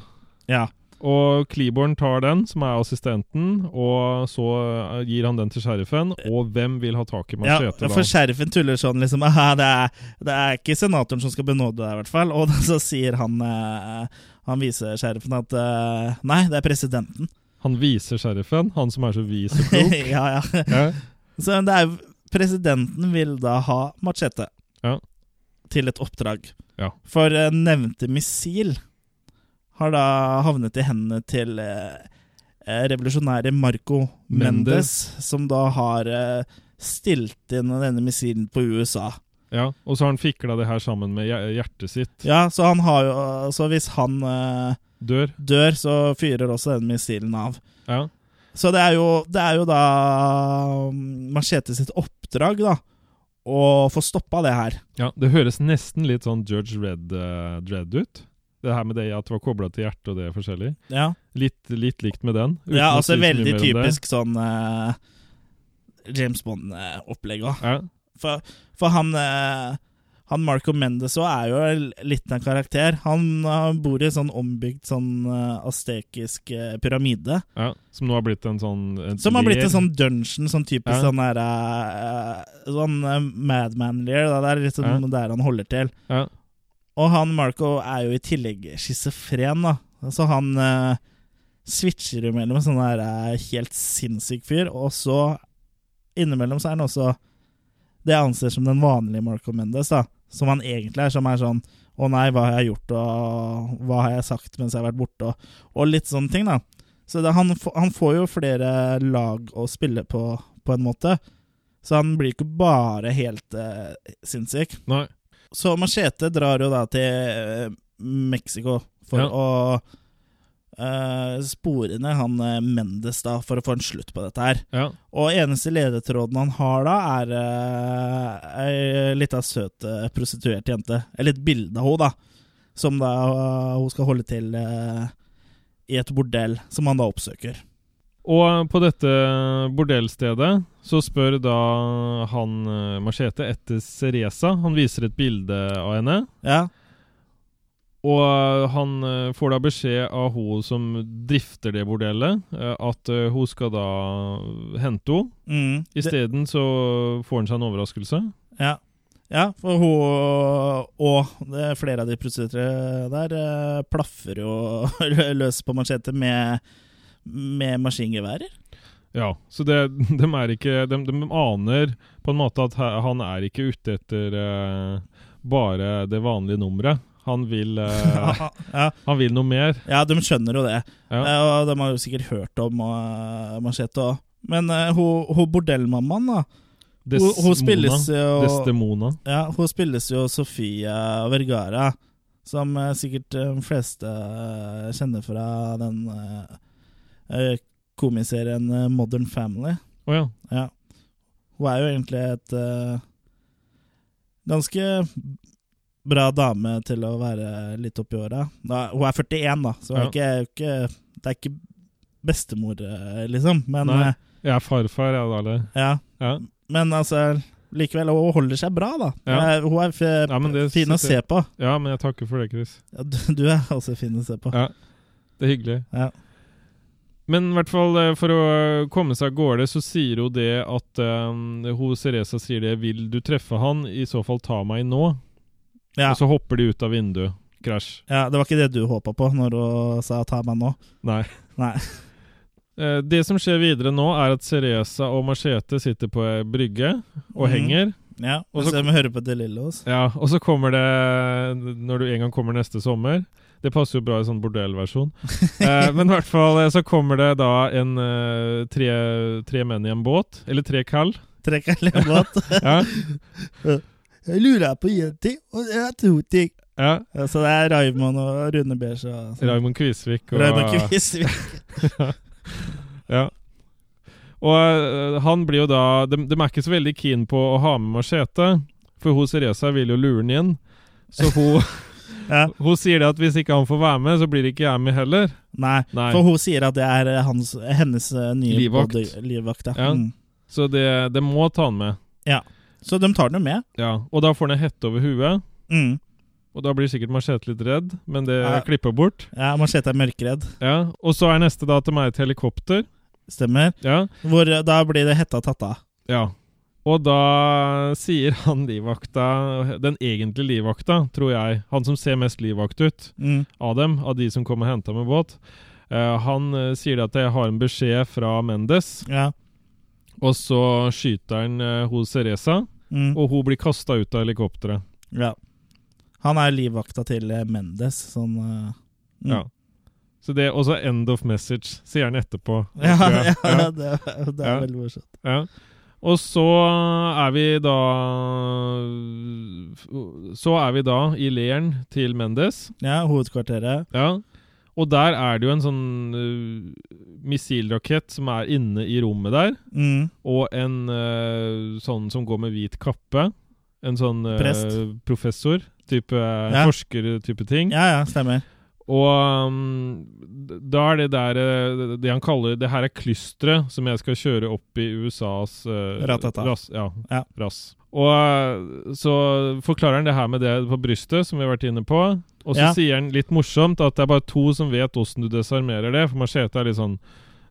[SPEAKER 1] Ja.
[SPEAKER 2] og Kleborn tar den, som er assistenten, og så eh, gir han den til sheriffen, og hvem vil ha tak i
[SPEAKER 1] ja
[SPEAKER 2] macheten
[SPEAKER 1] for
[SPEAKER 2] da?
[SPEAKER 1] sheriffen tuller sånn liksom «Aha, det, er, det er ikke senatoren som skal benåde deg, i hvert fall. Og da, så sier han eh, Han viser sheriffen at eh, Nei, det er presidenten.
[SPEAKER 2] Han viser sheriffen, han som er så vis og klok.
[SPEAKER 1] ja, ja.
[SPEAKER 2] Ja.
[SPEAKER 1] Så det er Presidenten vil da ha machete
[SPEAKER 2] Ja.
[SPEAKER 1] til et oppdrag.
[SPEAKER 2] Ja.
[SPEAKER 1] For eh, nevnte missil har da havnet i hendene til eh, eh, revolusjonære Marco Mendes, som da har eh, stilt inn denne missilen på USA.
[SPEAKER 2] Ja, og så har han fikla det her sammen med hjer- hjertet sitt.
[SPEAKER 1] Ja, så han har jo Så hvis han eh,
[SPEAKER 2] Dør.
[SPEAKER 1] dør, så fyrer også den missilen av.
[SPEAKER 2] Ja.
[SPEAKER 1] Så det er jo, det er jo da mm, Machete sitt oppdrag, da, å få stoppa det her.
[SPEAKER 2] ja. Det høres nesten litt sånn Judge Red eh, Dredd ut. Det her med det at det var kobla til hjertet og det forskjellig.
[SPEAKER 1] Ja,
[SPEAKER 2] Litt, litt likt med den. uten
[SPEAKER 1] ja
[SPEAKER 2] å
[SPEAKER 1] altså
[SPEAKER 2] si så mye
[SPEAKER 1] veldig
[SPEAKER 2] mer om det.
[SPEAKER 1] typisk sånn eh, James Bond-opplegg òg.
[SPEAKER 2] Ja.
[SPEAKER 1] For, for han eh, Han Marco Mendes òg er jo litt av en karakter. Han eh, bor i en sånn ombygd sånn eh, astekisk eh, pyramide.
[SPEAKER 2] Ja, som nå har blitt en sånn en
[SPEAKER 1] Som har blitt
[SPEAKER 2] lair.
[SPEAKER 1] en sånn dungeon, sånn typisk
[SPEAKER 2] Ja.
[SPEAKER 1] sånn der eh, Sånn Madman-lear. Det er litt sånn der han holder til.
[SPEAKER 2] ja.
[SPEAKER 1] Og han Marco er jo i tillegg schizofren, da. Så han eh, switcher jo mellom sånn der eh, helt sinnssyk fyr, og så innimellom så er han også det jeg anser som den vanlige Marco Mendes, da. Som han egentlig er, som er sånn Å nei, hva har jeg gjort, og hva har jeg sagt mens jeg har vært borte, og, og litt sånne ting, da. Så det, han, få- han får jo flere lag å spille på, på en måte. Så han blir ikke bare helt eh, sinnssyk.
[SPEAKER 2] Nei.
[SPEAKER 1] Så Machete drar jo da til eh, Mexico for
[SPEAKER 2] Ja.
[SPEAKER 1] å eh, spore ned han eh, Mendes, da, for å få en slutt på dette her.
[SPEAKER 2] Ja.
[SPEAKER 1] Og eneste ledetråden han har da, er uh, ei lita søt eh, prostituert jente. Eller et bilde av henne, da. Som da eh, hun skal holde til eh, i et bordell, som han da oppsøker.
[SPEAKER 2] Og eh, på dette bordellstedet så spør da han eh, Machete etter Ceresa. Han viser et bilde av henne.
[SPEAKER 1] Ja,
[SPEAKER 2] Og han eh, får da beskjed av hun som drifter det bordellet, eh, at eh, hun skal da hente henne.
[SPEAKER 1] mm. Det-
[SPEAKER 2] Isteden så får han seg en overraskelse.
[SPEAKER 1] Ja. ja, for hun og det, er flere av de prostituerte der eh, plaffer jo løs på machete med, med maskingeværer.
[SPEAKER 2] Ja, så det, de, er ikke, de, de aner på en måte at he- han er ikke ute etter eh, bare det vanlige nummeret. Han vil, eh,
[SPEAKER 1] Ja.
[SPEAKER 2] han vil noe mer.
[SPEAKER 1] ja, de skjønner jo det.
[SPEAKER 2] Ja.
[SPEAKER 1] Eh, Og de har jo sikkert hørt om uh, machete òg. Men eh, hun, hun bordellmammaen, da
[SPEAKER 2] Des
[SPEAKER 1] hun, hun spilles eh,
[SPEAKER 2] Mona.
[SPEAKER 1] jo
[SPEAKER 2] Desdemona.
[SPEAKER 1] Ja, hun spilles jo Sofia Vergara, som eh, sikkert eh, de fleste eh, kjenner fra den eh, eh, komiserien eh, Modern Family.
[SPEAKER 2] Å ja.
[SPEAKER 1] Ja. Hun er jo egentlig et eh, ganske bra dame til å være litt oppi åra. Da- Hun er 41, da, så hun er ikke, ikke, det er ikke bestemor, eh, liksom. Men,
[SPEAKER 2] Nei.
[SPEAKER 1] eh,
[SPEAKER 2] Jeg er farfar, jeg, da. eller?
[SPEAKER 1] ja.
[SPEAKER 2] Ja.
[SPEAKER 1] men altså Likevel, hun holder seg bra, da.
[SPEAKER 2] Ja.
[SPEAKER 1] Eh, Hun er f
[SPEAKER 2] Ja, men det
[SPEAKER 1] fin å
[SPEAKER 2] synes jeg-
[SPEAKER 1] se på.
[SPEAKER 2] ja, men jeg takker for det, Chris.
[SPEAKER 1] Ja, du, du er også fin å se på.
[SPEAKER 2] Ja. Det er hyggelig.
[SPEAKER 1] Ja.
[SPEAKER 2] Men i hvert fall eh, for å komme seg av gårde, så sier hun det at eh, Hun Ceresa sier det 'Vil du treffe han? I så fall ta meg nå.'
[SPEAKER 1] Ja.
[SPEAKER 2] Og så hopper de ut av vinduet. Krasj.
[SPEAKER 1] Ja, det var ikke det du håpa på når hun sa 'ta meg nå'.
[SPEAKER 2] Nei.
[SPEAKER 1] Nei.
[SPEAKER 2] Eh, Det som skjer videre nå, er at Ceresa og Machete sitter på ei brygge og
[SPEAKER 1] Mhm.
[SPEAKER 2] henger.
[SPEAKER 1] Ja,
[SPEAKER 2] Og
[SPEAKER 1] og
[SPEAKER 2] så-
[SPEAKER 1] så må vi høre på De Lillos.
[SPEAKER 2] Ja, Og så kommer det Når du en gang kommer neste sommer Det passer jo bra i sånn bordellversjon. Eh, men i hvert fall eh, så kommer det da en eh, tre, tre menn i en båt. Eller tre kall.
[SPEAKER 1] Trekk en lillebåt.
[SPEAKER 2] Ja,
[SPEAKER 1] Jeg lurer på én ting, og det er to ting.
[SPEAKER 2] ja.
[SPEAKER 1] Ja, så det er Raymond og Rune Beige og sånn.
[SPEAKER 2] Raymond Kvisvik og
[SPEAKER 1] Raymond Kvisvik.
[SPEAKER 2] Ja. Og øh, han blir jo da de, de er ikke så veldig keen på å ha med machete, for hun Ceresa vil jo lure den inn. Så hun
[SPEAKER 1] Ja.
[SPEAKER 2] Hun sier det at hvis ikke han får være med, så blir ikke jeg med heller.
[SPEAKER 1] Nei,
[SPEAKER 2] Nei.
[SPEAKER 1] for hun sier at det er eh, hans, hennes eh, nye
[SPEAKER 2] Livvakt.
[SPEAKER 1] body- livvakt ja.
[SPEAKER 2] Ja.
[SPEAKER 1] Mm.
[SPEAKER 2] Så det, det må ta han med.
[SPEAKER 1] ja. Så de tar den jo med.
[SPEAKER 2] Ja, Og da får han ei hette over huet,
[SPEAKER 1] Mm.
[SPEAKER 2] og da blir sikkert Machete litt redd, men det
[SPEAKER 1] Ja.
[SPEAKER 2] klipper bort.
[SPEAKER 1] Ja, Machete er mørkredd.
[SPEAKER 2] Ja, Og så er neste da at de er et helikopter.
[SPEAKER 1] Stemmer.
[SPEAKER 2] Ja,
[SPEAKER 1] Hvor eh, da blir det hetta tatt av.
[SPEAKER 2] ja. Og da sier han livvakta, den egentlige livvakta, tror jeg, han som ser mest livvakt ut,
[SPEAKER 1] Mm.
[SPEAKER 2] av dem, av de som kom og henta med båt. Eh, han eh, sier at jeg har en beskjed fra Mendes,
[SPEAKER 1] Ja.
[SPEAKER 2] og så skyter han eh, hos Cereza,
[SPEAKER 1] Mm.
[SPEAKER 2] og hun blir kasta ut av helikopteret.
[SPEAKER 1] ja. Han er livvakta til eh, Mendes, sånn eh, mm.
[SPEAKER 2] Ja. Så det er også end of message, sier han etterpå.
[SPEAKER 1] Ja,
[SPEAKER 2] tror jeg.
[SPEAKER 1] ja, det, det er
[SPEAKER 2] Ja.
[SPEAKER 1] veldig morsomt.
[SPEAKER 2] ja. Og så er vi da Så er vi da i leiren til Mendes.
[SPEAKER 1] Ja, hovedkvarteret.
[SPEAKER 2] Ja. Og der er det jo en sånn eh, missilrakett som er inne i rommet der.
[SPEAKER 1] Mm.
[SPEAKER 2] og en eh, sånn som går med hvit kappe. En sånn eh,
[SPEAKER 1] Prest.
[SPEAKER 2] professor, type
[SPEAKER 1] Ja.
[SPEAKER 2] forsker-type ting.
[SPEAKER 1] Ja, ja, stemmer.
[SPEAKER 2] Og mm, d- da er det der eh, Det han kaller Det her er klysteret som jeg skal kjøre opp i USAs eh,
[SPEAKER 1] Ratata.
[SPEAKER 2] Ras, ja,
[SPEAKER 1] Ja.
[SPEAKER 2] Ras. Og eh, så forklarer han det her med det på brystet, som vi har vært inne på. Og så
[SPEAKER 1] Ja.
[SPEAKER 2] sier han litt morsomt at det er bare to som vet åssen du desarmerer det. For machete er litt sånn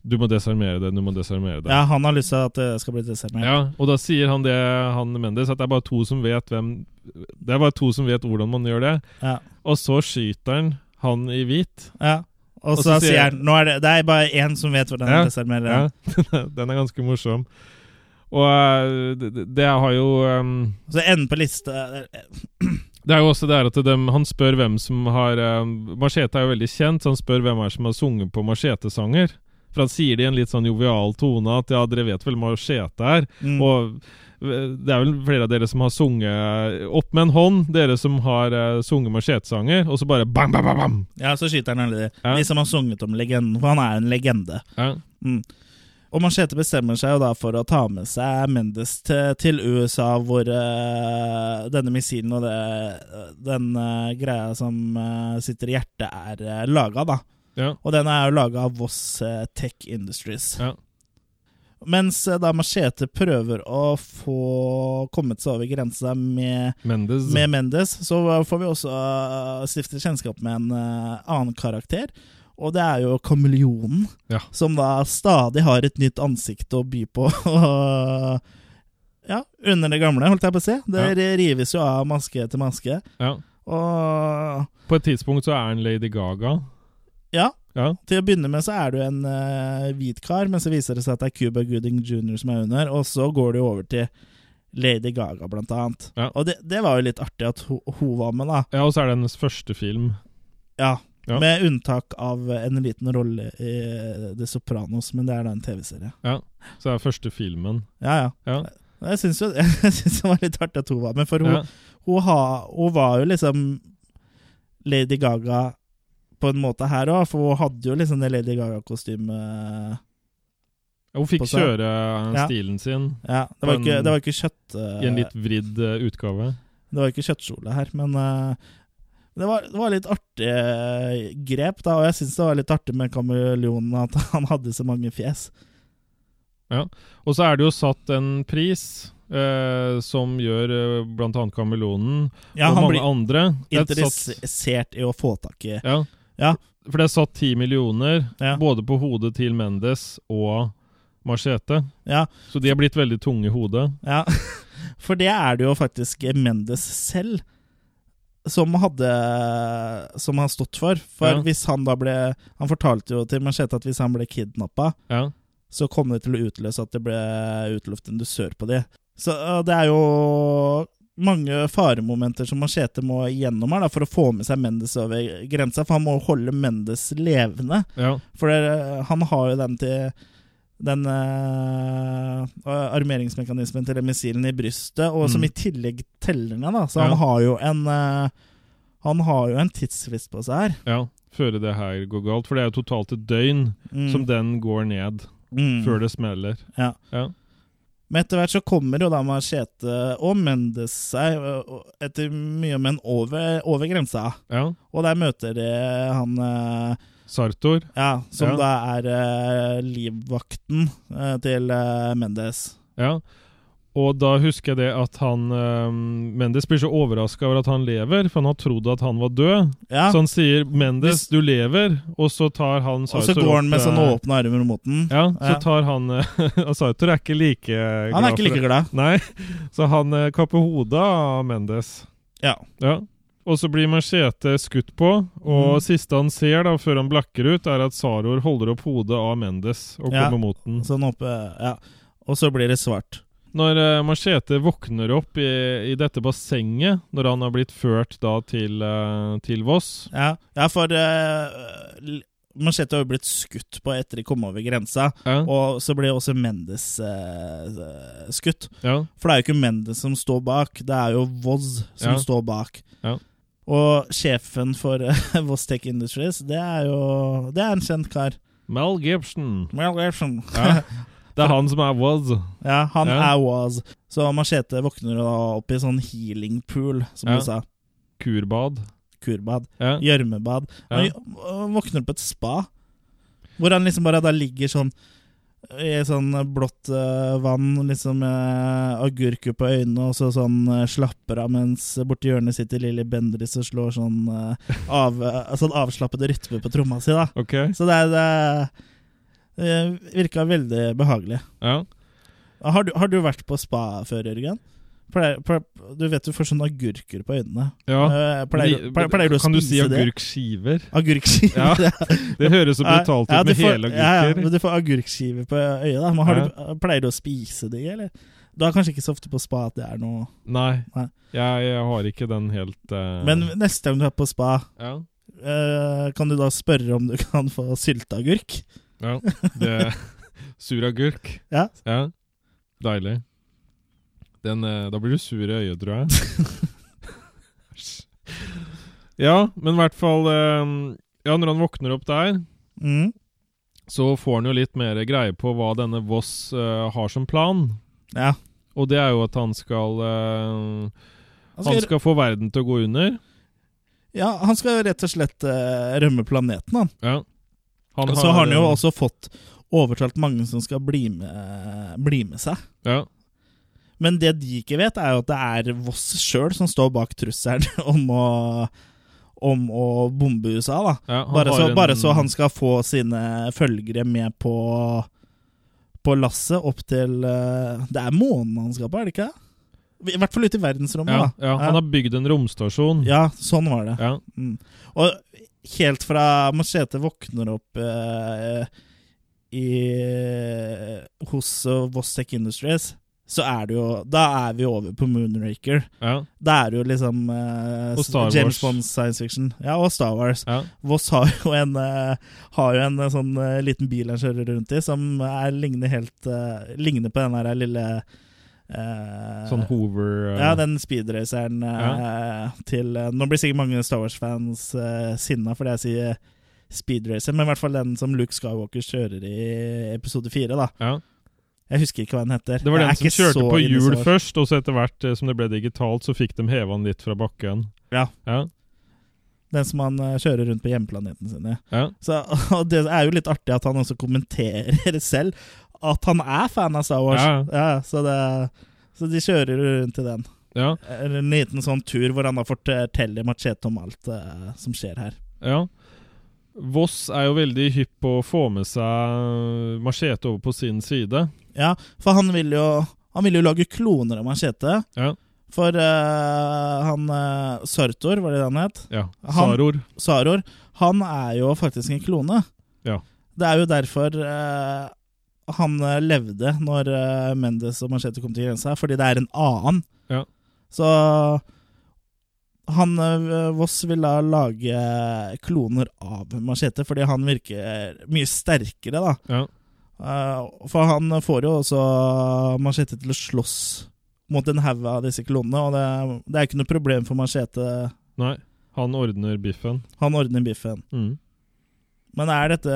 [SPEAKER 2] Du må desarmere det, du må desarmere det.
[SPEAKER 1] Ja, han har lyst til at det skal bli desarmert.
[SPEAKER 2] Ja, og da sier han det, han Mendes, at det er bare to som vet hvem Det er bare to som vet hvordan man gjør det.
[SPEAKER 1] Ja.
[SPEAKER 2] Og så skyter han han i hvit.
[SPEAKER 1] Ja. Og så sier han Nå er det, det er bare én som vet hvordan
[SPEAKER 2] Ja,
[SPEAKER 1] han desarmerer.
[SPEAKER 2] Ja. Den er ganske morsom. Og eh, det, det- det har jo ehm,
[SPEAKER 1] Så enden på lista
[SPEAKER 2] Det er jo også det her at dem, han spør hvem som har ehm, Machete er jo veldig kjent, så han spør hvem er det som har sunget på Machete-sanger. For han sier det i en litt sånn jovial tone at ja, dere vet vel hva Machete er.
[SPEAKER 1] mm.
[SPEAKER 2] Og eh, det er vel flere av dere som har sunget eh, Opp med en hånd, dere som har eh, sunget machetesanger, og så bare bam, bam, bam, bam.
[SPEAKER 1] Ja, så skyter han alle de.
[SPEAKER 2] Ja.
[SPEAKER 1] De som har sunget om legenden, for han er en legende.
[SPEAKER 2] Ja.
[SPEAKER 1] Og Machete bestemmer seg jo da for å ta med seg Mendes til, til USA, hvor eh, denne missilen og det, den eh, greia som eh, sitter i hjertet, er uh, laga, da.
[SPEAKER 2] Ja.
[SPEAKER 1] Og den er jo laga av Voss eh, Tech Industries.
[SPEAKER 2] Ja.
[SPEAKER 1] Mens eh, da Machete prøver å få kommet seg over grensa med
[SPEAKER 2] Mendes.
[SPEAKER 1] med Mendes, så får vi også uh, stifte kjennskap med en uh, annen karakter. Og det er jo kameleonen,
[SPEAKER 2] Ja.
[SPEAKER 1] som da stadig har et nytt ansikt å by på. og, ja, under det gamle, holdt jeg på å si. Det rives jo av maske til maske.
[SPEAKER 2] ja.
[SPEAKER 1] Og
[SPEAKER 2] På et tidspunkt så er han Lady Gaga.
[SPEAKER 1] ja,
[SPEAKER 2] Ja.
[SPEAKER 1] til å begynne med så er du en eh, hvit kar, men så viser det seg at det er Cuba Gooding Jr. som er under, og så går det jo over til Lady Gaga, blant annet.
[SPEAKER 2] Ja.
[SPEAKER 1] Og det, det var jo litt artig at hun, hun var med, da.
[SPEAKER 2] ja, og så er det hennes første film.
[SPEAKER 1] Ja,
[SPEAKER 2] Ja.
[SPEAKER 1] med unntak av en liten rolle i The Sopranos, men det er da en TV-serie.
[SPEAKER 2] Ja. Så er det første filmen.
[SPEAKER 1] Ja, ja.
[SPEAKER 2] Ja.
[SPEAKER 1] Jeg syns jo jeg synes det var litt artig at hun var med, for hun,
[SPEAKER 2] Ja.
[SPEAKER 1] hun, ha, hun var jo liksom Lady Gaga på en måte her òg, for hun hadde jo liksom det Lady Gaga-kostymet
[SPEAKER 2] Hun fikk
[SPEAKER 1] På seg.
[SPEAKER 2] kjøre eh,
[SPEAKER 1] Ja.
[SPEAKER 2] stilen sin
[SPEAKER 1] Ja, det var
[SPEAKER 2] På en-
[SPEAKER 1] ikke, det var ikke kjøtt... eh,
[SPEAKER 2] i en litt vridd eh, utgave.
[SPEAKER 1] Det var ikke kjøttkjole her, men eh, det, var, det var litt artig eh, grep, da. Og jeg syns det var litt artig med kameleonen, at han hadde så mange fjes.
[SPEAKER 2] Og så er det jo satt en pris. eh, som gjør eh, blant annet Kameleonen
[SPEAKER 1] Ja, han
[SPEAKER 2] og mange
[SPEAKER 1] blir
[SPEAKER 2] andre. Det er et satt-
[SPEAKER 1] interessert i å få tak i.
[SPEAKER 2] Ja.
[SPEAKER 1] Ja.
[SPEAKER 2] For det er satt ti millioner,
[SPEAKER 1] Ja.
[SPEAKER 2] både på hodet til Mendes og Machete.
[SPEAKER 1] Ja,
[SPEAKER 2] Så de har blitt veldig tunge i hodet.
[SPEAKER 1] ja. For det er det jo faktisk Mendes selv som hadde Som har stått for. For
[SPEAKER 2] Ja.
[SPEAKER 1] hvis han da ble Han fortalte jo til Machete at hvis han ble kidnappa,
[SPEAKER 2] Ja.
[SPEAKER 1] så kom det til å utløse at det ble utløst en dusør på de. Så øh, det er jo mange faremomenter som Machete må igjennom her da, for å få med seg Mendes over grensa, for han må holde Mendes levende.
[SPEAKER 2] ja.
[SPEAKER 1] For det, han har jo den til den eh, armeringsmekanismen til den missilen i brystet, og som
[SPEAKER 2] Mm.
[SPEAKER 1] i tillegg teller ned, da. Så
[SPEAKER 2] Ja.
[SPEAKER 1] han har jo en eh, Han har jo en tidsfrist på seg her.
[SPEAKER 2] ja. Før det her går galt. For det er jo totalt et døgn
[SPEAKER 1] Mm.
[SPEAKER 2] som den går ned
[SPEAKER 1] Mm.
[SPEAKER 2] før det smeller.
[SPEAKER 1] Ja.
[SPEAKER 2] Ja.
[SPEAKER 1] Men etter hvert så kommer jo da Machete og Mendes seg ø, ø, etter mye men over, over grensa.
[SPEAKER 2] Ja.
[SPEAKER 1] Og der møter de han ø,
[SPEAKER 2] Sartor.
[SPEAKER 1] ja, som
[SPEAKER 2] Ja.
[SPEAKER 1] da er ø, livvakten ø, til ø, Mendes.
[SPEAKER 2] Ja. Og da husker jeg det at han eh, Mendes blir så overraska over at han lever, for han har trodd at han var død.
[SPEAKER 1] Ja,
[SPEAKER 2] Så han sier
[SPEAKER 1] Hvis-
[SPEAKER 2] 'Mendes, du lever', og så tar han
[SPEAKER 1] og så
[SPEAKER 2] Sartor
[SPEAKER 1] går han med
[SPEAKER 2] opp,
[SPEAKER 1] sånne
[SPEAKER 2] eh,
[SPEAKER 1] åpne armer mot den.
[SPEAKER 2] Ja, så
[SPEAKER 1] Ja.
[SPEAKER 2] tar han eh, Og Sartor er ikke like
[SPEAKER 1] Han er ikke
[SPEAKER 2] for
[SPEAKER 1] like
[SPEAKER 2] det.
[SPEAKER 1] glad.
[SPEAKER 2] Nei, så han eh, kapper hodet av Mendes.
[SPEAKER 1] Ja.
[SPEAKER 2] Ja. Og så blir Machete skutt på, og
[SPEAKER 1] Mm.
[SPEAKER 2] siste han ser da, før han blakker ut, er at Saror holder opp hodet av Mendes og
[SPEAKER 1] Ja.
[SPEAKER 2] kommer mot den.
[SPEAKER 1] Sånn oppe, ja. Og så blir det svart.
[SPEAKER 2] Når eh, Machete våkner opp i, i dette bassenget, når han har blitt ført da til, eh, til Voss
[SPEAKER 1] Ja, ja for uh, Machete har jo blitt skutt på etter de kom over grensa.
[SPEAKER 2] ja.
[SPEAKER 1] Og så ble også Mendes eh, skutt.
[SPEAKER 2] Ja.
[SPEAKER 1] For det er jo ikke Mendes som står bak, det er jo Voz som
[SPEAKER 2] Ja.
[SPEAKER 1] står bak.
[SPEAKER 2] Ja.
[SPEAKER 1] Og sjefen for eh, Voz Tech Industries, det er jo Det er en kjent kar.
[SPEAKER 2] Mel Gibson.
[SPEAKER 1] Mel Gibson.
[SPEAKER 2] Ja. Det er han som er Voss.
[SPEAKER 1] Ja, han
[SPEAKER 2] Ja.
[SPEAKER 1] er Woz. Så Machete våkner jo da opp i sånn healing pool, som
[SPEAKER 2] Ja.
[SPEAKER 1] du sa.
[SPEAKER 2] Kurbad.
[SPEAKER 1] Kurbad.
[SPEAKER 2] Ja.
[SPEAKER 1] Gjørmebad.
[SPEAKER 2] Ja.
[SPEAKER 1] Han jo- våkner på et spa, hvor han liksom bare da ligger sånn i sånn blått eh, vann, liksom med agurker på øynene, og så sånn eh, slapper av, mens borti hjørnet sitter Lilly Bendriss og slår sånn, eh, av, eh, sånn avslappede rytmer på tromma si, da.
[SPEAKER 2] Ok.
[SPEAKER 1] Så det, er- det eh, virka veldig behagelig.
[SPEAKER 2] Ja.
[SPEAKER 1] Har du, har du vært på spa før, Jørgen? Pleier, pleier, du vet du får sånne agurker på øynene.
[SPEAKER 2] ja.
[SPEAKER 1] Eh, Pleier, pleier, pleier du å
[SPEAKER 2] kan du si
[SPEAKER 1] spise det?
[SPEAKER 2] agurkskiver?
[SPEAKER 1] Agurkskiver?
[SPEAKER 2] Ja, Det høres så brutalt ut
[SPEAKER 1] Ja, du
[SPEAKER 2] med
[SPEAKER 1] får-
[SPEAKER 2] hele
[SPEAKER 1] Ja, ja,
[SPEAKER 2] agurker.
[SPEAKER 1] men du får agurkskiver på øyet, da. Men har du, pleier du å spise de, eller? Du er kanskje ikke så ofte på spa at det er noe
[SPEAKER 2] Nei,
[SPEAKER 1] Nei.
[SPEAKER 2] Jeg, jeg har ikke den helt eh,
[SPEAKER 1] Men neste gang du er på spa,
[SPEAKER 2] ja,
[SPEAKER 1] eh, kan du da spørre om du kan få sylteagurk?
[SPEAKER 2] ja, det Suragurk.
[SPEAKER 1] Ja.
[SPEAKER 2] Ja. Deilig. Den, eh, da blir du sur i øyet, tror jeg. Æsj. ja, men i hvert fall eh, Ja, når han våkner opp der,
[SPEAKER 1] Mm.
[SPEAKER 2] så får han jo litt mer greie på hva denne Voss eh, har som plan.
[SPEAKER 1] Ja.
[SPEAKER 2] Og det er jo at han skal eh,
[SPEAKER 1] Han
[SPEAKER 2] Han
[SPEAKER 1] skal,
[SPEAKER 2] skal få verden til å gå under.
[SPEAKER 1] ja, han skal rett og slett eh, rømme planeten, han.
[SPEAKER 2] Ja. Han
[SPEAKER 1] Og så har han jo
[SPEAKER 2] eh,
[SPEAKER 1] også fått overtalt mange som skal bli med, bli med seg.
[SPEAKER 2] ja.
[SPEAKER 1] Men det de ikke vet, er jo at det er Voss sjøl som står bak trusselen om å, om å bombe USA, da.
[SPEAKER 2] Ja, han
[SPEAKER 1] Bare
[SPEAKER 2] har
[SPEAKER 1] så,
[SPEAKER 2] en-
[SPEAKER 1] bare så han skal få sine følgere med på, på lasset opp til eh, Det er månen han skal på, er det ikke det? I hvert fall ute i verdensrommet,
[SPEAKER 2] ja,
[SPEAKER 1] da.
[SPEAKER 2] ja, han har bygd en romstasjon.
[SPEAKER 1] ja, sånn var det.
[SPEAKER 2] Ja.
[SPEAKER 1] Mm. Og helt fra Machete våkner opp eh, i, hos eh, Voss Tech Industries, så er det jo Da er vi over på Moonraker.
[SPEAKER 2] Ja,
[SPEAKER 1] Da er det jo liksom eh,
[SPEAKER 2] Og Star Wars.
[SPEAKER 1] James Bond science fiction. Ja, og Star Wars.
[SPEAKER 2] ja,
[SPEAKER 1] Voss har jo en, eh, har jo en eh, sånn eh, liten bil han kjører rundt i, som er, ligner, helt, eh, ligner på den der lille eh,
[SPEAKER 2] Sånn hover eh,
[SPEAKER 1] Ja, den speedraceren eh, til eh, Nå blir sikkert mange Star Wars-fans eh, sinna fordi jeg sier speedracer, men i hvert fall den som Luke Skywalker kjører i episode fire, da.
[SPEAKER 2] ja.
[SPEAKER 1] Jeg husker ikke hva den heter.
[SPEAKER 2] Det var
[SPEAKER 1] Jeg
[SPEAKER 2] den
[SPEAKER 1] er
[SPEAKER 2] som
[SPEAKER 1] ikke
[SPEAKER 2] kjørte
[SPEAKER 1] så
[SPEAKER 2] på
[SPEAKER 1] inne i Star
[SPEAKER 2] hjul
[SPEAKER 1] Wars.
[SPEAKER 2] først, og så etter hvert eh, som det ble digitalt, så fikk de heva han litt fra bakken.
[SPEAKER 1] Ja.
[SPEAKER 2] Ja,
[SPEAKER 1] Den som han eh, kjører rundt på hjemplaneten sin i.
[SPEAKER 2] ja,
[SPEAKER 1] Så, og det er jo litt artig at han også kommenterer selv at han er fan av Star Wars.
[SPEAKER 2] Ja.
[SPEAKER 1] Ja, så, det, så de kjører rundt i den.
[SPEAKER 2] ja.
[SPEAKER 1] Eller En liten sånn tur hvor han da forteller Machete om alt eh, som skjer her.
[SPEAKER 2] ja. Voss er jo veldig hypp på å få med seg eh, machete over på sin side.
[SPEAKER 1] Ja, for han vil jo, han vil jo lage kloner av Machete.
[SPEAKER 2] Ja.
[SPEAKER 1] For eh, han eh, Sartor, var det det han het?
[SPEAKER 2] ja.
[SPEAKER 1] Han-
[SPEAKER 2] Saror.
[SPEAKER 1] Saror, han er jo faktisk en klone.
[SPEAKER 2] Ja.
[SPEAKER 1] Det er jo derfor eh, han eh, levde når eh, Mendes og Machete kom til grensa, fordi det er en annen.
[SPEAKER 2] Ja.
[SPEAKER 1] Så han eh, Voss vil da lage kloner av Machete, fordi han virker mye sterkere, da.
[SPEAKER 2] Ja.
[SPEAKER 1] Eh, for han får jo også Machete til å slåss mot en haug av disse klonene, og det, det er ikke noe problem for Machete.
[SPEAKER 2] Nei, han ordner biffen.
[SPEAKER 1] Han ordner biffen.
[SPEAKER 2] Mm.
[SPEAKER 1] Men er dette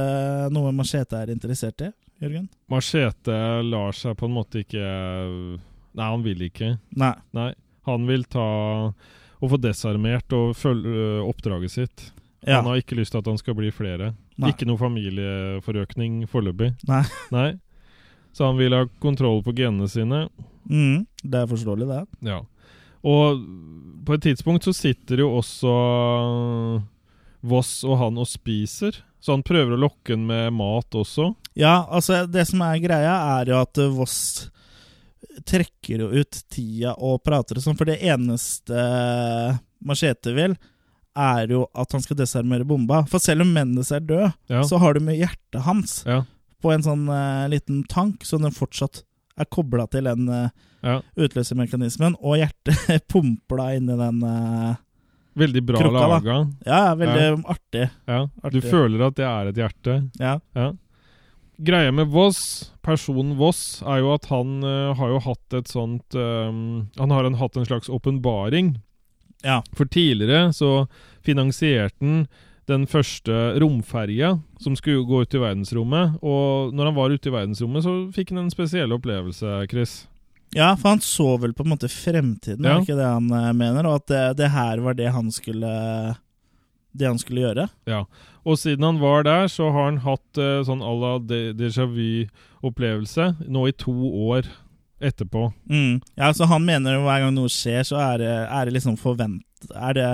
[SPEAKER 1] noe Machete er interessert i? Jørgen?
[SPEAKER 2] Machete lar seg på en måte ikke Nei, han vil ikke.
[SPEAKER 1] Nei.
[SPEAKER 2] Nei. Han vil ta og få desarmert og følge oppdraget sitt.
[SPEAKER 1] Ja.
[SPEAKER 2] Han har ikke lyst til at han skal bli flere.
[SPEAKER 1] Nei.
[SPEAKER 2] Ikke noe familieforøkning foreløpig.
[SPEAKER 1] Nei.
[SPEAKER 2] Nei. Så han vil ha kontroll på genene sine.
[SPEAKER 1] Mm, det er forståelig, det.
[SPEAKER 2] Ja. Og på et tidspunkt så sitter jo også øh, Voss og han og spiser. Så han prøver å lokke han med mat også.
[SPEAKER 1] Ja, altså det som er greia er jo at eh, Voss trekker jo ut tida og prater og sånn, for det eneste eh, Machete vil, er jo at han skal desarmere bomba. For selv om Mendes er død,
[SPEAKER 2] Ja.
[SPEAKER 1] så har du med hjertet hans
[SPEAKER 2] Ja.
[SPEAKER 1] på en sånn eh, liten tank, så den fortsatt er kobla til den eh,
[SPEAKER 2] ja.
[SPEAKER 1] utløsermekanismen, og hjertet pumper da inni den eh,
[SPEAKER 2] Veldig bra
[SPEAKER 1] Krukka, da.
[SPEAKER 2] laga.
[SPEAKER 1] Ja, veldig artig.
[SPEAKER 2] Ja. Du
[SPEAKER 1] Artig.
[SPEAKER 2] føler at det er et hjerte.
[SPEAKER 1] Ja.
[SPEAKER 2] Ja. Greia med Voss, personen Voss, er jo at han eh, har jo hatt et sånt eh, Han har en, hatt en slags åpenbaring.
[SPEAKER 1] Ja.
[SPEAKER 2] For tidligere så finansierte han den første romferja som skulle gå ut i verdensrommet. Og når han var ute i verdensrommet, så fikk han en spesiell opplevelse, Chris.
[SPEAKER 1] Ja, for han så vel på en måte fremtiden,
[SPEAKER 2] Ja.
[SPEAKER 1] er det ikke det han eh, mener? Og at det, det her var det han skulle Det han skulle gjøre?
[SPEAKER 2] Ja, og siden han var der, så har han hatt eh, sånn à la de- déjà vu-opplevelse nå i to år etterpå.
[SPEAKER 1] Mm. Ja, så han mener jo hver gang noe skjer, så er det, er det liksom forvent... Er det,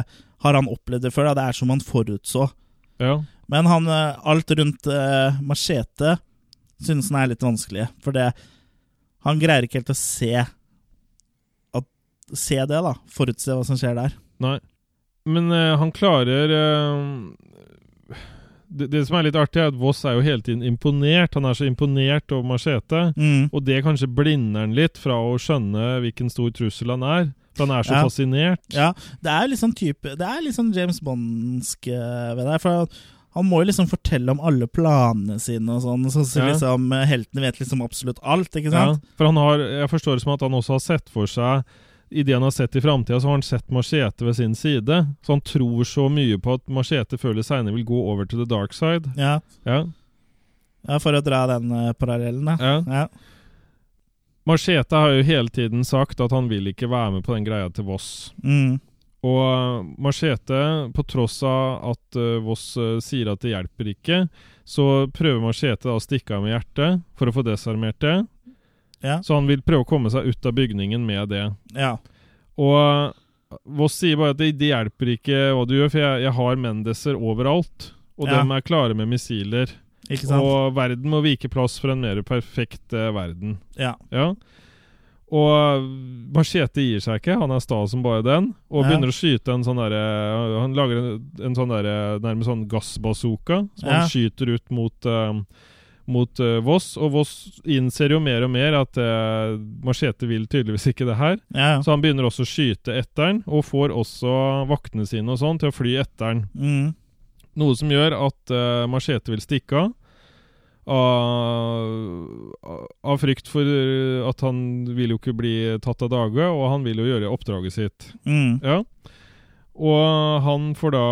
[SPEAKER 1] har han opplevd det før? Da? Det er som han forutså.
[SPEAKER 2] Ja,
[SPEAKER 1] Men han, eh, alt rundt eh, machete synes han er litt vanskelig, for det Han greier ikke helt å se at, Se det, da. Forutse hva som skjer der.
[SPEAKER 2] Nei. Men eh, han klarer eh, det, det som er litt artig, er at Voss er jo hele tiden imponert. Han er så imponert over Machete.
[SPEAKER 1] Mm.
[SPEAKER 2] Og det kanskje blinder han litt fra å skjønne hvilken stor trussel han er. For han er så
[SPEAKER 1] Ja.
[SPEAKER 2] fascinert.
[SPEAKER 1] Ja, det er liksom type Det er liksom James Bondsk eh, ved det. For han- han må jo liksom fortelle om alle planene sine og sånn. Så så
[SPEAKER 2] Ja.
[SPEAKER 1] liksom eh, heltene vet liksom absolutt alt, ikke
[SPEAKER 2] Ja,
[SPEAKER 1] sant?
[SPEAKER 2] for han har, jeg forstår det som at han også har sett for seg I det han har sett i framtida, så har han sett Machete ved sin side. Så han tror så mye på at Machete før eller seinere vil gå over to the dark side.
[SPEAKER 1] Ja.
[SPEAKER 2] Ja,
[SPEAKER 1] ja, for å dra den eh, parallellen, ja.
[SPEAKER 2] ja.
[SPEAKER 1] ja.
[SPEAKER 2] Machete har jo hele tiden sagt at han vil ikke være med på den greia til Voss.
[SPEAKER 1] Mm.
[SPEAKER 2] Og eh, Machete, på tross av at eh, Voss eh, sier at det hjelper ikke, så prøver Machete da å stikke av med hjertet for å få desarmert det.
[SPEAKER 1] Ja.
[SPEAKER 2] Så han vil prøve å komme seg ut av bygningen med det.
[SPEAKER 1] ja.
[SPEAKER 2] Og eh, Voss sier bare at det, det hjelper ikke hva du gjør, for jeg, jeg har Mendeser overalt. Og
[SPEAKER 1] Ja.
[SPEAKER 2] dem er klare med missiler.
[SPEAKER 1] Ikke sant?
[SPEAKER 2] Og verden må vike plass for en mer perfekt eh, verden.
[SPEAKER 1] Ja.
[SPEAKER 2] Ja. Og Machete gir seg ikke, han er sta som bare den, og
[SPEAKER 1] Ja.
[SPEAKER 2] begynner å skyte en sånn derre Han lager en, en sånn derre nærmest sånn gassbazooka som
[SPEAKER 1] Ja.
[SPEAKER 2] han skyter ut mot eh, mot eh, Voss, og Voss innser jo mer og mer at eh, Machete vil tydeligvis ikke det her.
[SPEAKER 1] ja, ja.
[SPEAKER 2] Så han begynner også å skyte etter den, og får også vaktene sine og sånn til å fly etter den.
[SPEAKER 1] Mm.
[SPEAKER 2] Noe som gjør at eh, Machete vil stikke av. Av, av frykt for eh, at han vil jo ikke bli tatt av dage, og han vil jo gjøre oppdraget sitt.
[SPEAKER 1] Mm.
[SPEAKER 2] Ja. Og han får da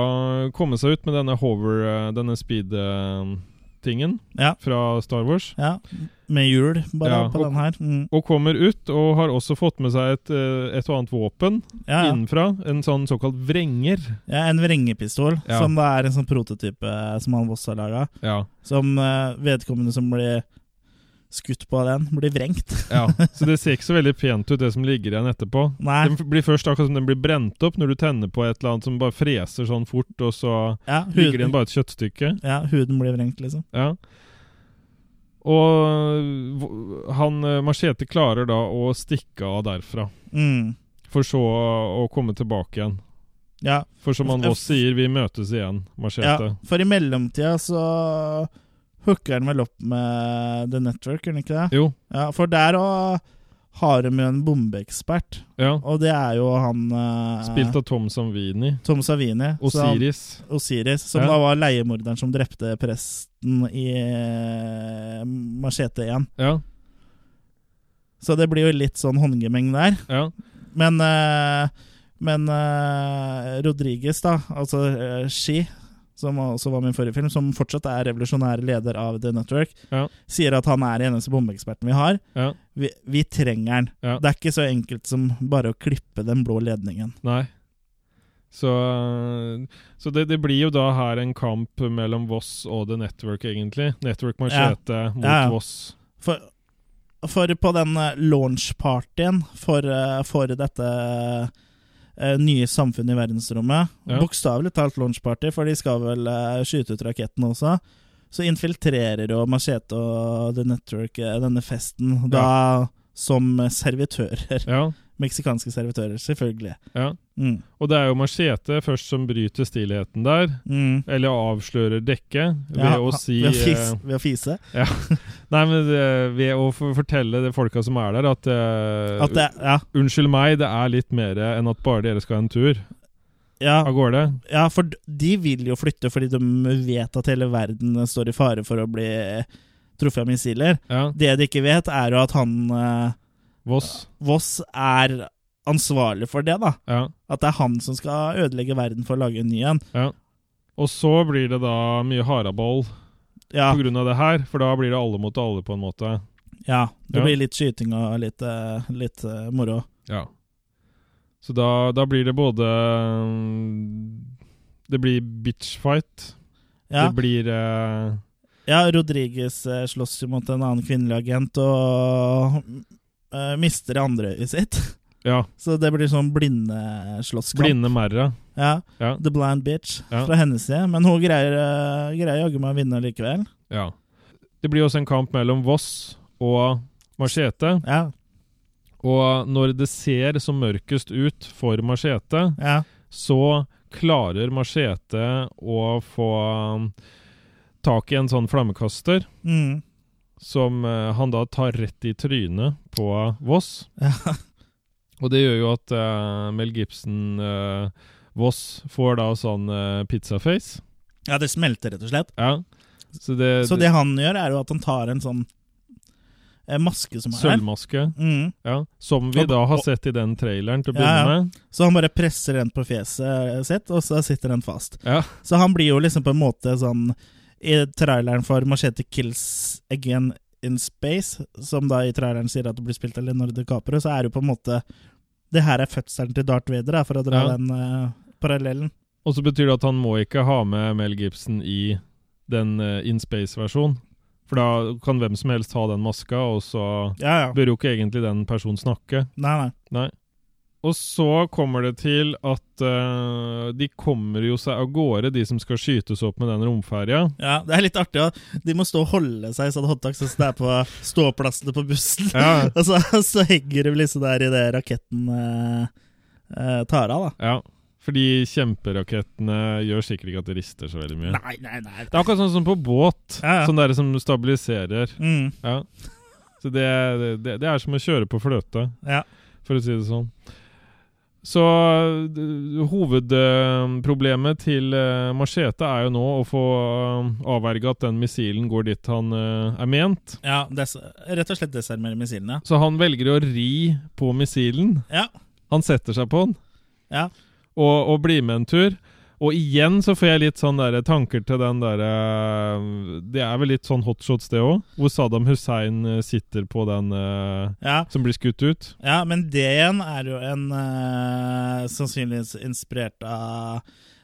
[SPEAKER 2] komme seg ut med denne hover, eh, denne speed-tingen
[SPEAKER 1] Ja.
[SPEAKER 2] fra Star Wars.
[SPEAKER 1] ja. Med hjul, bare
[SPEAKER 2] Ja,
[SPEAKER 1] på
[SPEAKER 2] og-
[SPEAKER 1] den her. Mm.
[SPEAKER 2] Og kommer ut, og har også fått med seg et, eh, et og annet våpen
[SPEAKER 1] Ja, ja.
[SPEAKER 2] innenfra. En sånn såkalt vrenger.
[SPEAKER 1] ja, en vrengepistol,
[SPEAKER 2] Ja.
[SPEAKER 1] som da er en sånn prototype eh, som han Voss har laga.
[SPEAKER 2] Ja.
[SPEAKER 1] Som eh, vedkommende som blir skutt på den, blir vrengt.
[SPEAKER 2] Ja, så det ser ikke så veldig pent ut, det som ligger igjen etterpå.
[SPEAKER 1] Nei.
[SPEAKER 2] Den f- blir først akkurat som den blir brent opp når du tenner på et eller annet som bare freser sånn fort, og så
[SPEAKER 1] Ja,
[SPEAKER 2] ligger det
[SPEAKER 1] huden,
[SPEAKER 2] igjen bare et kjøttstykke.
[SPEAKER 1] ja, huden blir vrengt, liksom.
[SPEAKER 2] Ja. Og v- han eh, Machete klarer da å stikke av derfra,
[SPEAKER 1] Mm.
[SPEAKER 2] for så å komme tilbake igjen.
[SPEAKER 1] Ja,
[SPEAKER 2] For som han Voss sier, vi møtes igjen,
[SPEAKER 1] ja,
[SPEAKER 2] Machete.
[SPEAKER 1] for i mellomtida så hooker han vel opp med The Network, gjør han ikke det?
[SPEAKER 2] Jo,
[SPEAKER 1] Ja, for der òg har de jo en bombeekspert,
[SPEAKER 2] ja.
[SPEAKER 1] og det er jo han eh,
[SPEAKER 2] Spilt av Tom Samvini.
[SPEAKER 1] Tom Savini. så han-
[SPEAKER 2] Osiris.
[SPEAKER 1] Osiris, som
[SPEAKER 2] Ja.
[SPEAKER 1] da var leiemorderen som drepte presten i eh, Machete 1.
[SPEAKER 2] Ja,
[SPEAKER 1] Så det blir jo litt sånn håndgemeng der.
[SPEAKER 2] ja.
[SPEAKER 1] Men, eh, men eh, Rodriguez, da, altså eh, Ski, som også var min forrige film, som fortsatt er revolusjonær leder av The Network,
[SPEAKER 2] Ja.
[SPEAKER 1] sier at han er den eneste bombeeksperten vi har.
[SPEAKER 2] Ja.
[SPEAKER 1] Vi, vi trenger den.
[SPEAKER 2] Ja.
[SPEAKER 1] Det er ikke så enkelt som bare å klippe den blå ledningen.
[SPEAKER 2] Nei. Så, så det, det blir jo da her en kamp mellom Voss og The Network, egentlig. Network Machete mot
[SPEAKER 1] Ja, ja.
[SPEAKER 2] Voss.
[SPEAKER 1] For, for på den eh, launchpartyen for, eh, for dette eh, nye samfunnet i verdensrommet
[SPEAKER 2] Ja.
[SPEAKER 1] Bokstavelig talt launchparty, for de skal vel eh, skyte ut rakettene også. Så infiltrerer jo Machete og The Network eh, denne festen, da som servitører.
[SPEAKER 2] Ja,
[SPEAKER 1] Meksikanske servitører, selvfølgelig.
[SPEAKER 2] ja.
[SPEAKER 1] Mm.
[SPEAKER 2] Og det er jo Machete først som bryter stillheten der,
[SPEAKER 1] Mm.
[SPEAKER 2] eller avslører dekket, ved
[SPEAKER 1] Ja,
[SPEAKER 2] å
[SPEAKER 1] ha-
[SPEAKER 2] si
[SPEAKER 1] ved å,
[SPEAKER 2] eh,
[SPEAKER 1] fise, ved å fise.
[SPEAKER 2] ja. Nei, men det, ved å for- fortelle de folka som er der, at, eh,
[SPEAKER 1] At det, ja,
[SPEAKER 2] Unnskyld meg, det er litt mer enn at bare dere skal ha en tur
[SPEAKER 1] ja,
[SPEAKER 2] av gårde.
[SPEAKER 1] Ja, for d- de vil jo flytte fordi de vet at hele verden står i fare for å bli truffet av missiler.
[SPEAKER 2] Ja,
[SPEAKER 1] Det de ikke vet, er jo at han eh,
[SPEAKER 2] Voss.
[SPEAKER 1] Voss er ansvarlig for det, da.
[SPEAKER 2] Ja.
[SPEAKER 1] At det er han som skal ødelegge verden for å lage en ny en.
[SPEAKER 2] Ja. Og så blir det da mye haraball
[SPEAKER 1] Ja,
[SPEAKER 2] på grunn av det her, for da blir det alle mot alle på en måte.
[SPEAKER 1] ja. Det
[SPEAKER 2] Ja.
[SPEAKER 1] blir litt skyting og litt, eh, litt eh, moro.
[SPEAKER 2] Ja. Så da, da blir det både mm, Det blir bitchfight.
[SPEAKER 1] Ja,
[SPEAKER 2] Det blir eh,
[SPEAKER 1] ja Rodriguez eh, slåss jo mot en annen kvinnelig agent og eh, mister det andre øyet sitt.
[SPEAKER 2] Ja,
[SPEAKER 1] Så det blir sånn blindeslåsskamp.
[SPEAKER 2] blinde merra.
[SPEAKER 1] Ja.
[SPEAKER 2] Ja.
[SPEAKER 1] The Blind Bitch
[SPEAKER 2] Ja.
[SPEAKER 1] fra hennes side. Men hun greier, eh, greier jaggu meg å vinne likevel.
[SPEAKER 2] Ja. Det blir også en kamp mellom Voss og Machete.
[SPEAKER 1] Ja,
[SPEAKER 2] Og når det ser som mørkest ut for Machete,
[SPEAKER 1] ja,
[SPEAKER 2] så klarer Machete å få mm, tak i en sånn flammekaster.
[SPEAKER 1] mm,
[SPEAKER 2] som eh, han da tar rett i trynet på Voss.
[SPEAKER 1] Ja.
[SPEAKER 2] Og det gjør jo at eh, Mel Gibson eh, Voss får da sånn eh, pizzaface.
[SPEAKER 1] ja, det smelter rett og slett.
[SPEAKER 2] Ja. Så det,
[SPEAKER 1] Så det han gjør, er jo at han tar en sånn eh, maske som er her.
[SPEAKER 2] Sølvmaske.
[SPEAKER 1] Mm.
[SPEAKER 2] Ja. Som vi
[SPEAKER 1] Og-
[SPEAKER 2] da har
[SPEAKER 1] og-
[SPEAKER 2] sett i den traileren til
[SPEAKER 1] Ja,
[SPEAKER 2] å
[SPEAKER 1] ja.
[SPEAKER 2] begynne med.
[SPEAKER 1] Så han bare presser den på fjeset sitt, og så sitter den fast.
[SPEAKER 2] Ja.
[SPEAKER 1] Så han blir jo liksom på en måte sånn I traileren for Machete Kills Again in Space, som da i traileren sier at det blir spilt av Leonardo DiCaprio, så er det jo på en måte Det her er fødselen til Darth Vader, da, for å dra
[SPEAKER 2] Ja.
[SPEAKER 1] den eh, parallellen.
[SPEAKER 2] Og så betyr det at han må ikke ha med Mel Gibson i den eh, In Space-versjonen. For da kan hvem som helst ha den maska, og så
[SPEAKER 1] Ja, ja.
[SPEAKER 2] bør jo ikke egentlig den personen snakke.
[SPEAKER 1] Nei, nei.
[SPEAKER 2] Nei. Og så kommer det til at eh, de kommer jo seg av gårde, de som skal skytes opp med den romferja.
[SPEAKER 1] Ja, det er litt artig. Ja. De må stå og holde seg i sånn hotdogs så det er på ståplassene på bussen.
[SPEAKER 2] Ja.
[SPEAKER 1] og så, så henger de liksom der idet raketten eh, eh, tar av, da.
[SPEAKER 2] Ja. Fordi kjemperakettene gjør sikkert ikke at det rister så veldig mye.
[SPEAKER 1] Nei, nei, nei.
[SPEAKER 2] Det er akkurat sånn som på båt,
[SPEAKER 1] Ja, ja.
[SPEAKER 2] sånn der som stabiliserer.
[SPEAKER 1] Mm,
[SPEAKER 2] Ja. Så det, det, det er som å kjøre på fløte,
[SPEAKER 1] ja.
[SPEAKER 2] for å si det sånn. Så d- hovedproblemet til eh, Machete er jo nå å få eh, avverget at den missilen går dit han eh, er ment.
[SPEAKER 1] ja des rett og slett desarmere missilene.
[SPEAKER 2] Så han velger å ri på missilen.
[SPEAKER 1] Ja.
[SPEAKER 2] Han setter seg på den
[SPEAKER 1] Ja.
[SPEAKER 2] og, og blir med en tur. Og igjen så får jeg litt sånn der, tanker til den derre Det er vel litt sånn hotshots, det òg, hvor Saddam Hussein eh, sitter på den eh,
[SPEAKER 1] ja.
[SPEAKER 2] som blir skutt ut.
[SPEAKER 1] Ja, men det igjen er jo en eh, sannsynligvis inspirert av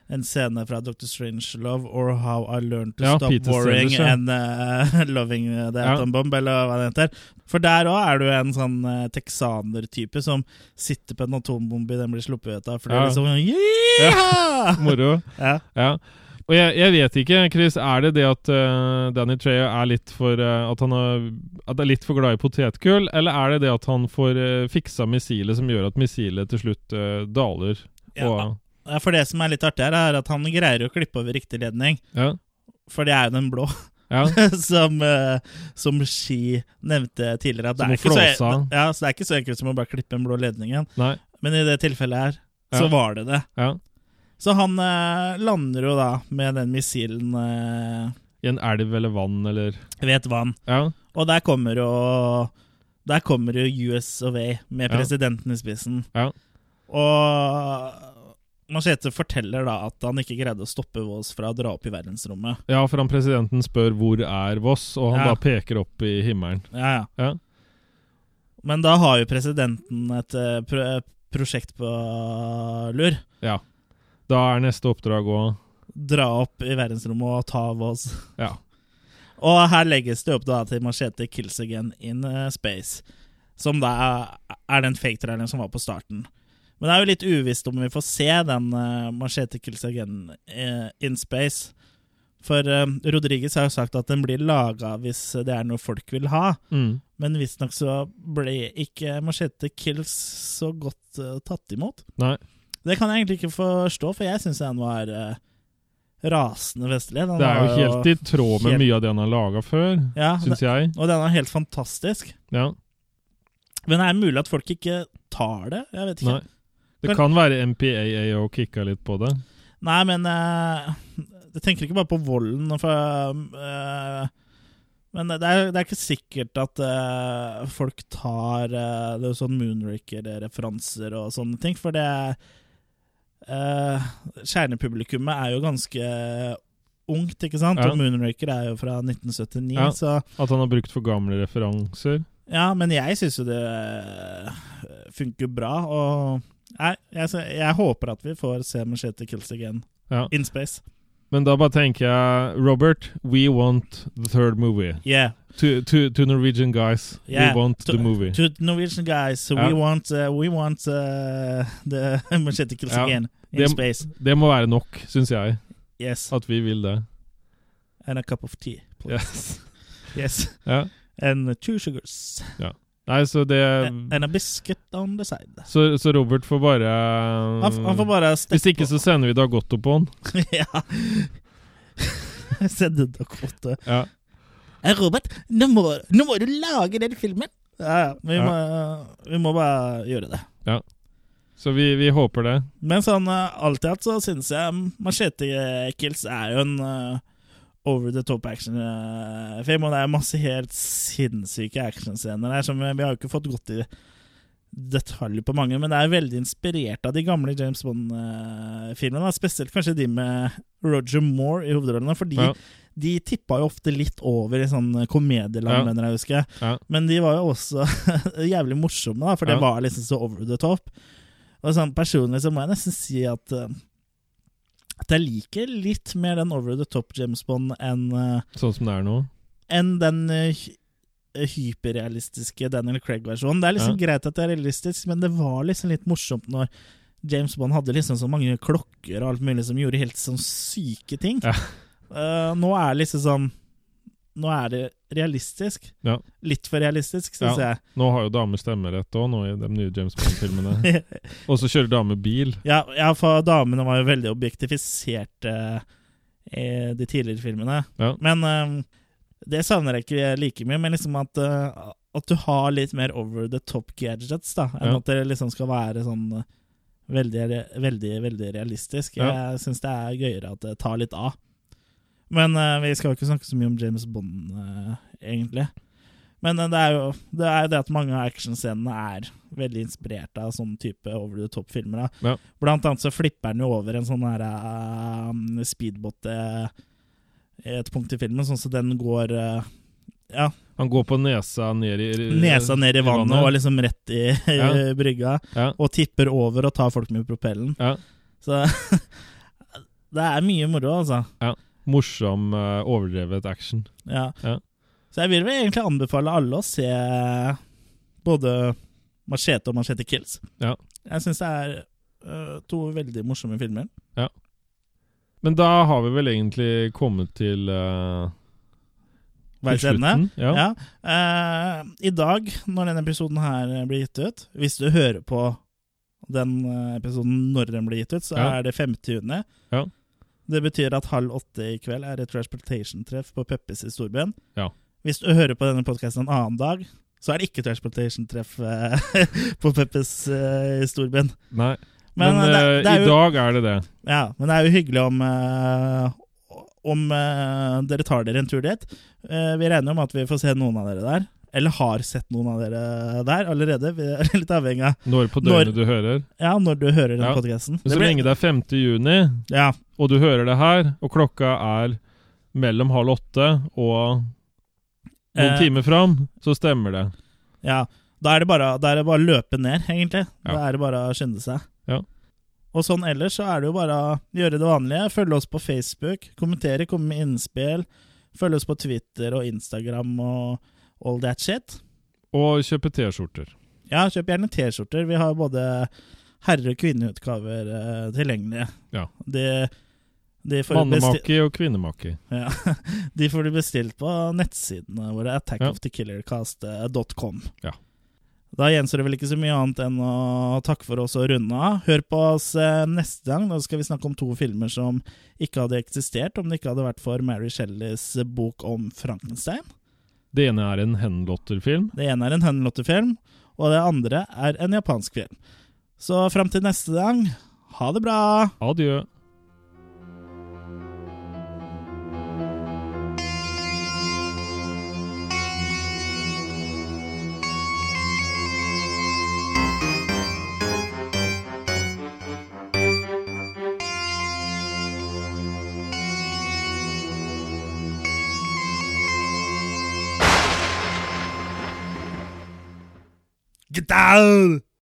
[SPEAKER 1] en scene fra Dr. Strangelove or How I Learned to
[SPEAKER 2] Ja,
[SPEAKER 1] Stop
[SPEAKER 2] Peter
[SPEAKER 1] Worrying
[SPEAKER 2] Sellers, ja.
[SPEAKER 1] and eh, Loving the
[SPEAKER 2] Ja.
[SPEAKER 1] Atom Bomb, eller hva det heter. For der òg er du en sånn eh, teksaner-type som sitter på en atombombe den blir sluppet ut av, for det
[SPEAKER 2] Ja.
[SPEAKER 1] er liksom Yeeha!
[SPEAKER 2] Moro.
[SPEAKER 1] Ja.
[SPEAKER 2] Ja. Og jeg, jeg vet ikke, Chris, er det det at eh, Danny Trejo er litt for eh, at han er, at er litt for glad i potetgull, eller er det det at han får eh, fiksa missilet som gjør at missilet til slutt eh, daler?
[SPEAKER 1] Ja.
[SPEAKER 2] Og,
[SPEAKER 1] Ja, For det som er litt artig her, er at han greier å klippe over riktig ledning,
[SPEAKER 2] ja.
[SPEAKER 1] for det er jo den blå.
[SPEAKER 2] Ja,
[SPEAKER 1] som, eh, som Ski nevnte tidligere. At det er
[SPEAKER 2] Som å
[SPEAKER 1] ikke så,
[SPEAKER 2] flåse av.
[SPEAKER 1] ja, så det er ikke så enkelt som å bare klippe den blå ledningen.
[SPEAKER 2] nei,
[SPEAKER 1] Men i det tilfellet her, så
[SPEAKER 2] Ja.
[SPEAKER 1] var det det.
[SPEAKER 2] ja.
[SPEAKER 1] Så han eh, lander jo da med den missilen eh,
[SPEAKER 2] I en elv eller vann eller
[SPEAKER 1] ved et vann.
[SPEAKER 2] Ja,
[SPEAKER 1] Og der kommer jo Der kommer jo US of A med
[SPEAKER 2] Ja.
[SPEAKER 1] presidenten i spissen.
[SPEAKER 2] ja.
[SPEAKER 1] Og Machete forteller da at han ikke greide å stoppe Vås fra å dra opp i verdensrommet.
[SPEAKER 2] Ja, for han presidenten spør 'hvor er Voss?', og han
[SPEAKER 1] Ja.
[SPEAKER 2] da peker opp i himmelen.
[SPEAKER 1] Ja, ja.
[SPEAKER 2] Ja.
[SPEAKER 1] Men da har jo presidenten et eh, pro prosjekt på lur.
[SPEAKER 2] ja. Da er neste oppdrag å
[SPEAKER 1] Dra opp i verdensrommet og ta Vås.
[SPEAKER 2] Ja.
[SPEAKER 1] Og her legges det opp da til Machete kills again in eh, space. Som da er- er den fake-traileren som var på starten. Men det er jo litt uvisst om vi får se den uh, Machete kills again eh, in space. For uh, Rodriguez har jo sagt at den blir laga hvis det er noe folk vil ha.
[SPEAKER 2] Mm.
[SPEAKER 1] Men visstnok så ble ikke Machete kills så godt eh, tatt imot.
[SPEAKER 2] Nei.
[SPEAKER 1] Det kan jeg egentlig ikke forstå, for jeg syns den var eh, rasende vestlig. Den
[SPEAKER 2] Det er
[SPEAKER 1] var
[SPEAKER 2] jo helt i tråd med
[SPEAKER 1] helt-
[SPEAKER 2] mye av det han har laga før,
[SPEAKER 1] Ja,
[SPEAKER 2] syns jeg.
[SPEAKER 1] og den er helt fantastisk.
[SPEAKER 2] Ja.
[SPEAKER 1] Men det er mulig at folk ikke tar det. Jeg vet ikke.
[SPEAKER 2] Nei. Det
[SPEAKER 1] Kan-
[SPEAKER 2] kan være MPAA og kicka litt på det.
[SPEAKER 1] Nei, men eh, Jeg tenker ikke bare på volden. For, eh, men det er, det er ikke sikkert at eh, folk tar eh, det er jo sånn Moonraker-referanser og sånne ting. For det eh, Kjernepublikummet er jo ganske ungt, ikke sant?
[SPEAKER 2] Ja.
[SPEAKER 1] Og Moonraker er jo fra 1979,
[SPEAKER 2] Ja.
[SPEAKER 1] så
[SPEAKER 2] At han har brukt for gamle referanser.
[SPEAKER 1] Ja, men jeg syns jo det øh, funker bra, og Nei, jeg, sy- jeg håper at vi får se Machete Kills again
[SPEAKER 2] Ja.
[SPEAKER 1] in space.
[SPEAKER 2] Men da bare tenker jeg Robert, we want the third movie.
[SPEAKER 1] Yeah.
[SPEAKER 2] To, to, to Norwegian guys,
[SPEAKER 1] Yeah.
[SPEAKER 2] we want
[SPEAKER 1] To-
[SPEAKER 2] the movie.
[SPEAKER 1] To Norwegian guys, so we
[SPEAKER 2] Ja.
[SPEAKER 1] want, uh, we want uh, the Machete Kills
[SPEAKER 2] Ja.
[SPEAKER 1] again in
[SPEAKER 2] Det-
[SPEAKER 1] space.
[SPEAKER 2] Det må være nok, syns jeg.
[SPEAKER 1] Yes.
[SPEAKER 2] At vi vil det.
[SPEAKER 1] And a cup of tea, please.
[SPEAKER 2] Yes.
[SPEAKER 1] Yes.
[SPEAKER 2] Ja.
[SPEAKER 1] And two sugars.
[SPEAKER 2] Nei, så det
[SPEAKER 1] And and a biscuit on the side.
[SPEAKER 2] Så, så Robert får bare
[SPEAKER 1] Han, f- han
[SPEAKER 2] um,
[SPEAKER 1] får bare
[SPEAKER 2] Hvis
[SPEAKER 1] steppe
[SPEAKER 2] ikke, så sender vi Dagotto på han.
[SPEAKER 1] Ja. Send det til kvote.
[SPEAKER 2] Ja.
[SPEAKER 1] Eh, Robert, nå må, nå må du lage den filmen! Ja, ja, vi, Må, vi må bare gjøre det.
[SPEAKER 2] Så vi, vi håper det.
[SPEAKER 1] Men sånn eh, alt i alt så syns jeg Machete Kills er jo en eh, over the top action-film, og det er masse helt sinnssyke actionscener her som eh, vi vi har jo ikke fått gått i detalj på mange, men det er veldig inspirert av de gamle James Bond-filmene, da, spesielt kanskje de med Roger Moore i hovedrollene, fordi
[SPEAKER 2] Ja.
[SPEAKER 1] de tippa jo ofte litt over i sånn komedieland,
[SPEAKER 2] Ja.
[SPEAKER 1] mener jeg å huske.
[SPEAKER 2] Ja.
[SPEAKER 1] Men de var jo også jævlig morsomme, da, for det
[SPEAKER 2] Ja.
[SPEAKER 1] var liksom så over the top. Og sånn Personlig så må jeg nesten si at eh, At jeg liker litt mer den over the top James Bond enn eh,
[SPEAKER 2] Sånn som det er nå.
[SPEAKER 1] enn den eh, hy- hyperrealistiske Daniel Craig-versjonen. Det er liksom greit at det er realistisk, men det var liksom litt morsomt når James Bond hadde liksom så mange klokker og alt mulig som gjorde helt sånn syke ting.
[SPEAKER 2] Ja.
[SPEAKER 1] Eh, nå er det liksom sånn Nå er det realistisk.
[SPEAKER 2] Ja.
[SPEAKER 1] Litt for realistisk, syns
[SPEAKER 2] Ja. Nå har jo damer stemmerett òg, nå i de nye James Bond-filmene.
[SPEAKER 1] jeg.
[SPEAKER 2] Og så kjører damer bil.
[SPEAKER 1] Ja, ja, for damene var jo veldig objektifiserte i de tidligere filmene.
[SPEAKER 2] Ja.
[SPEAKER 1] Men eh, det savner jeg ikke like mye. Men liksom at, eh, at du har litt mer over the top gadgets, da. Enn
[SPEAKER 2] Ja.
[SPEAKER 1] at det liksom skal være sånn eh, veldig, re- veldig, veldig realistisk.
[SPEAKER 2] Ja.
[SPEAKER 1] Jeg syns det er gøyere at det tar litt av. Men eh, vi skal jo ikke snakke så mye om James Bond, eh, egentlig. Men eh, det er jo det, er jo det at mange av actionscenene er veldig inspirert av sånn type over the top-filmer. da.
[SPEAKER 2] Ja.
[SPEAKER 1] Blant annet så flipper han jo over en sånn her eh, speedbåt eh, i et punkt i filmen, sånn så den går eh, ja,
[SPEAKER 2] Han går på nesa ned i
[SPEAKER 1] nesa ned i vannet og liksom rett i
[SPEAKER 2] Ja.
[SPEAKER 1] brygga,
[SPEAKER 2] Ja.
[SPEAKER 1] og tipper over og tar folk med propellen.
[SPEAKER 2] Ja.
[SPEAKER 1] Så det er mye moro, altså.
[SPEAKER 2] Morsom, eh, overdrevet action.
[SPEAKER 1] Ja.
[SPEAKER 2] Ja.
[SPEAKER 1] Så jeg vil vel egentlig anbefale alle å se både Machete og Machete Kills.
[SPEAKER 2] Ja.
[SPEAKER 1] Jeg syns det er øh, to veldig morsomme filmer.
[SPEAKER 2] Men da har vi vel egentlig kommet til, eh, til
[SPEAKER 1] Hver ende.
[SPEAKER 2] Ja.
[SPEAKER 1] Ja. Eh, I dag, når denne episoden her eh, blir gitt ut Hvis du hører på den eh, episoden når den blir gitt ut, så
[SPEAKER 2] Ja.
[SPEAKER 1] er det 50. juni.
[SPEAKER 2] Ja.
[SPEAKER 1] Det betyr at halv åtte i kveld er et Transportation-treff på Peppes i storbyen.
[SPEAKER 2] Ja.
[SPEAKER 1] Hvis du hører på denne podkasten en annen dag, så er det ikke Transportation-treff eh, på Peppes eh, i storbyen.
[SPEAKER 2] Nei. Men,
[SPEAKER 1] Men, eh, det,
[SPEAKER 2] eh,
[SPEAKER 1] det er
[SPEAKER 2] i
[SPEAKER 1] jo,
[SPEAKER 2] dag er det det.
[SPEAKER 1] ja, men det er jo hyggelig om eh, om eh, dere tar dere en tur dit. Eh, vi regner med at vi får se noen av dere der. Eller har sett noen av dere der allerede. Vi er litt avhengig av
[SPEAKER 2] Når på
[SPEAKER 1] Når-
[SPEAKER 2] døgnet du hører.
[SPEAKER 1] ja, når du hører den
[SPEAKER 2] Ja.
[SPEAKER 1] podcasten.
[SPEAKER 2] Men så
[SPEAKER 1] Det blir-
[SPEAKER 2] lenge det er 5. juni,
[SPEAKER 1] Ja,
[SPEAKER 2] og du hører det her, og klokka er mellom halv åtte og noen
[SPEAKER 1] Eh.
[SPEAKER 2] timer fram, så stemmer det.
[SPEAKER 1] ja. Da er det bare, da er det bare å løpe ned, egentlig.
[SPEAKER 2] Ja.
[SPEAKER 1] Da er det bare å skynde seg.
[SPEAKER 2] Ja.
[SPEAKER 1] Og sånn ellers så er det jo bare å gjøre det vanlige. Følge oss på Facebook, kommentere, komme med innspill. Følge oss på Twitter og Instagram og all that shit.
[SPEAKER 2] Og kjøpe T-skjorter.
[SPEAKER 1] Ja, kjøp gjerne T-skjorter. Vi har både herre- og kvinneutgaver eh, tilgjengelige.
[SPEAKER 2] Ja.
[SPEAKER 1] De, de, får du besti-
[SPEAKER 2] Mannemaki og kvinnemaki.
[SPEAKER 1] ja. de får du bestilt på nettsidene våre,
[SPEAKER 2] Ja.
[SPEAKER 1] attackofthekillercast.com.
[SPEAKER 2] Ja.
[SPEAKER 1] Da gjenstår det vel ikke så mye annet enn å takke for oss og runde av. Hør på oss eh, neste gang. Da skal vi snakke om to filmer som ikke hadde eksistert om det ikke hadde vært for Mary Shelleys bok om Frankenstein.
[SPEAKER 2] Det ene er en Henlotter-film.
[SPEAKER 1] Det ene er en Henlotte-film, og det andre er en japansk film. Så fram til neste gang, ha det bra!
[SPEAKER 2] Adjø.
[SPEAKER 1] Get down!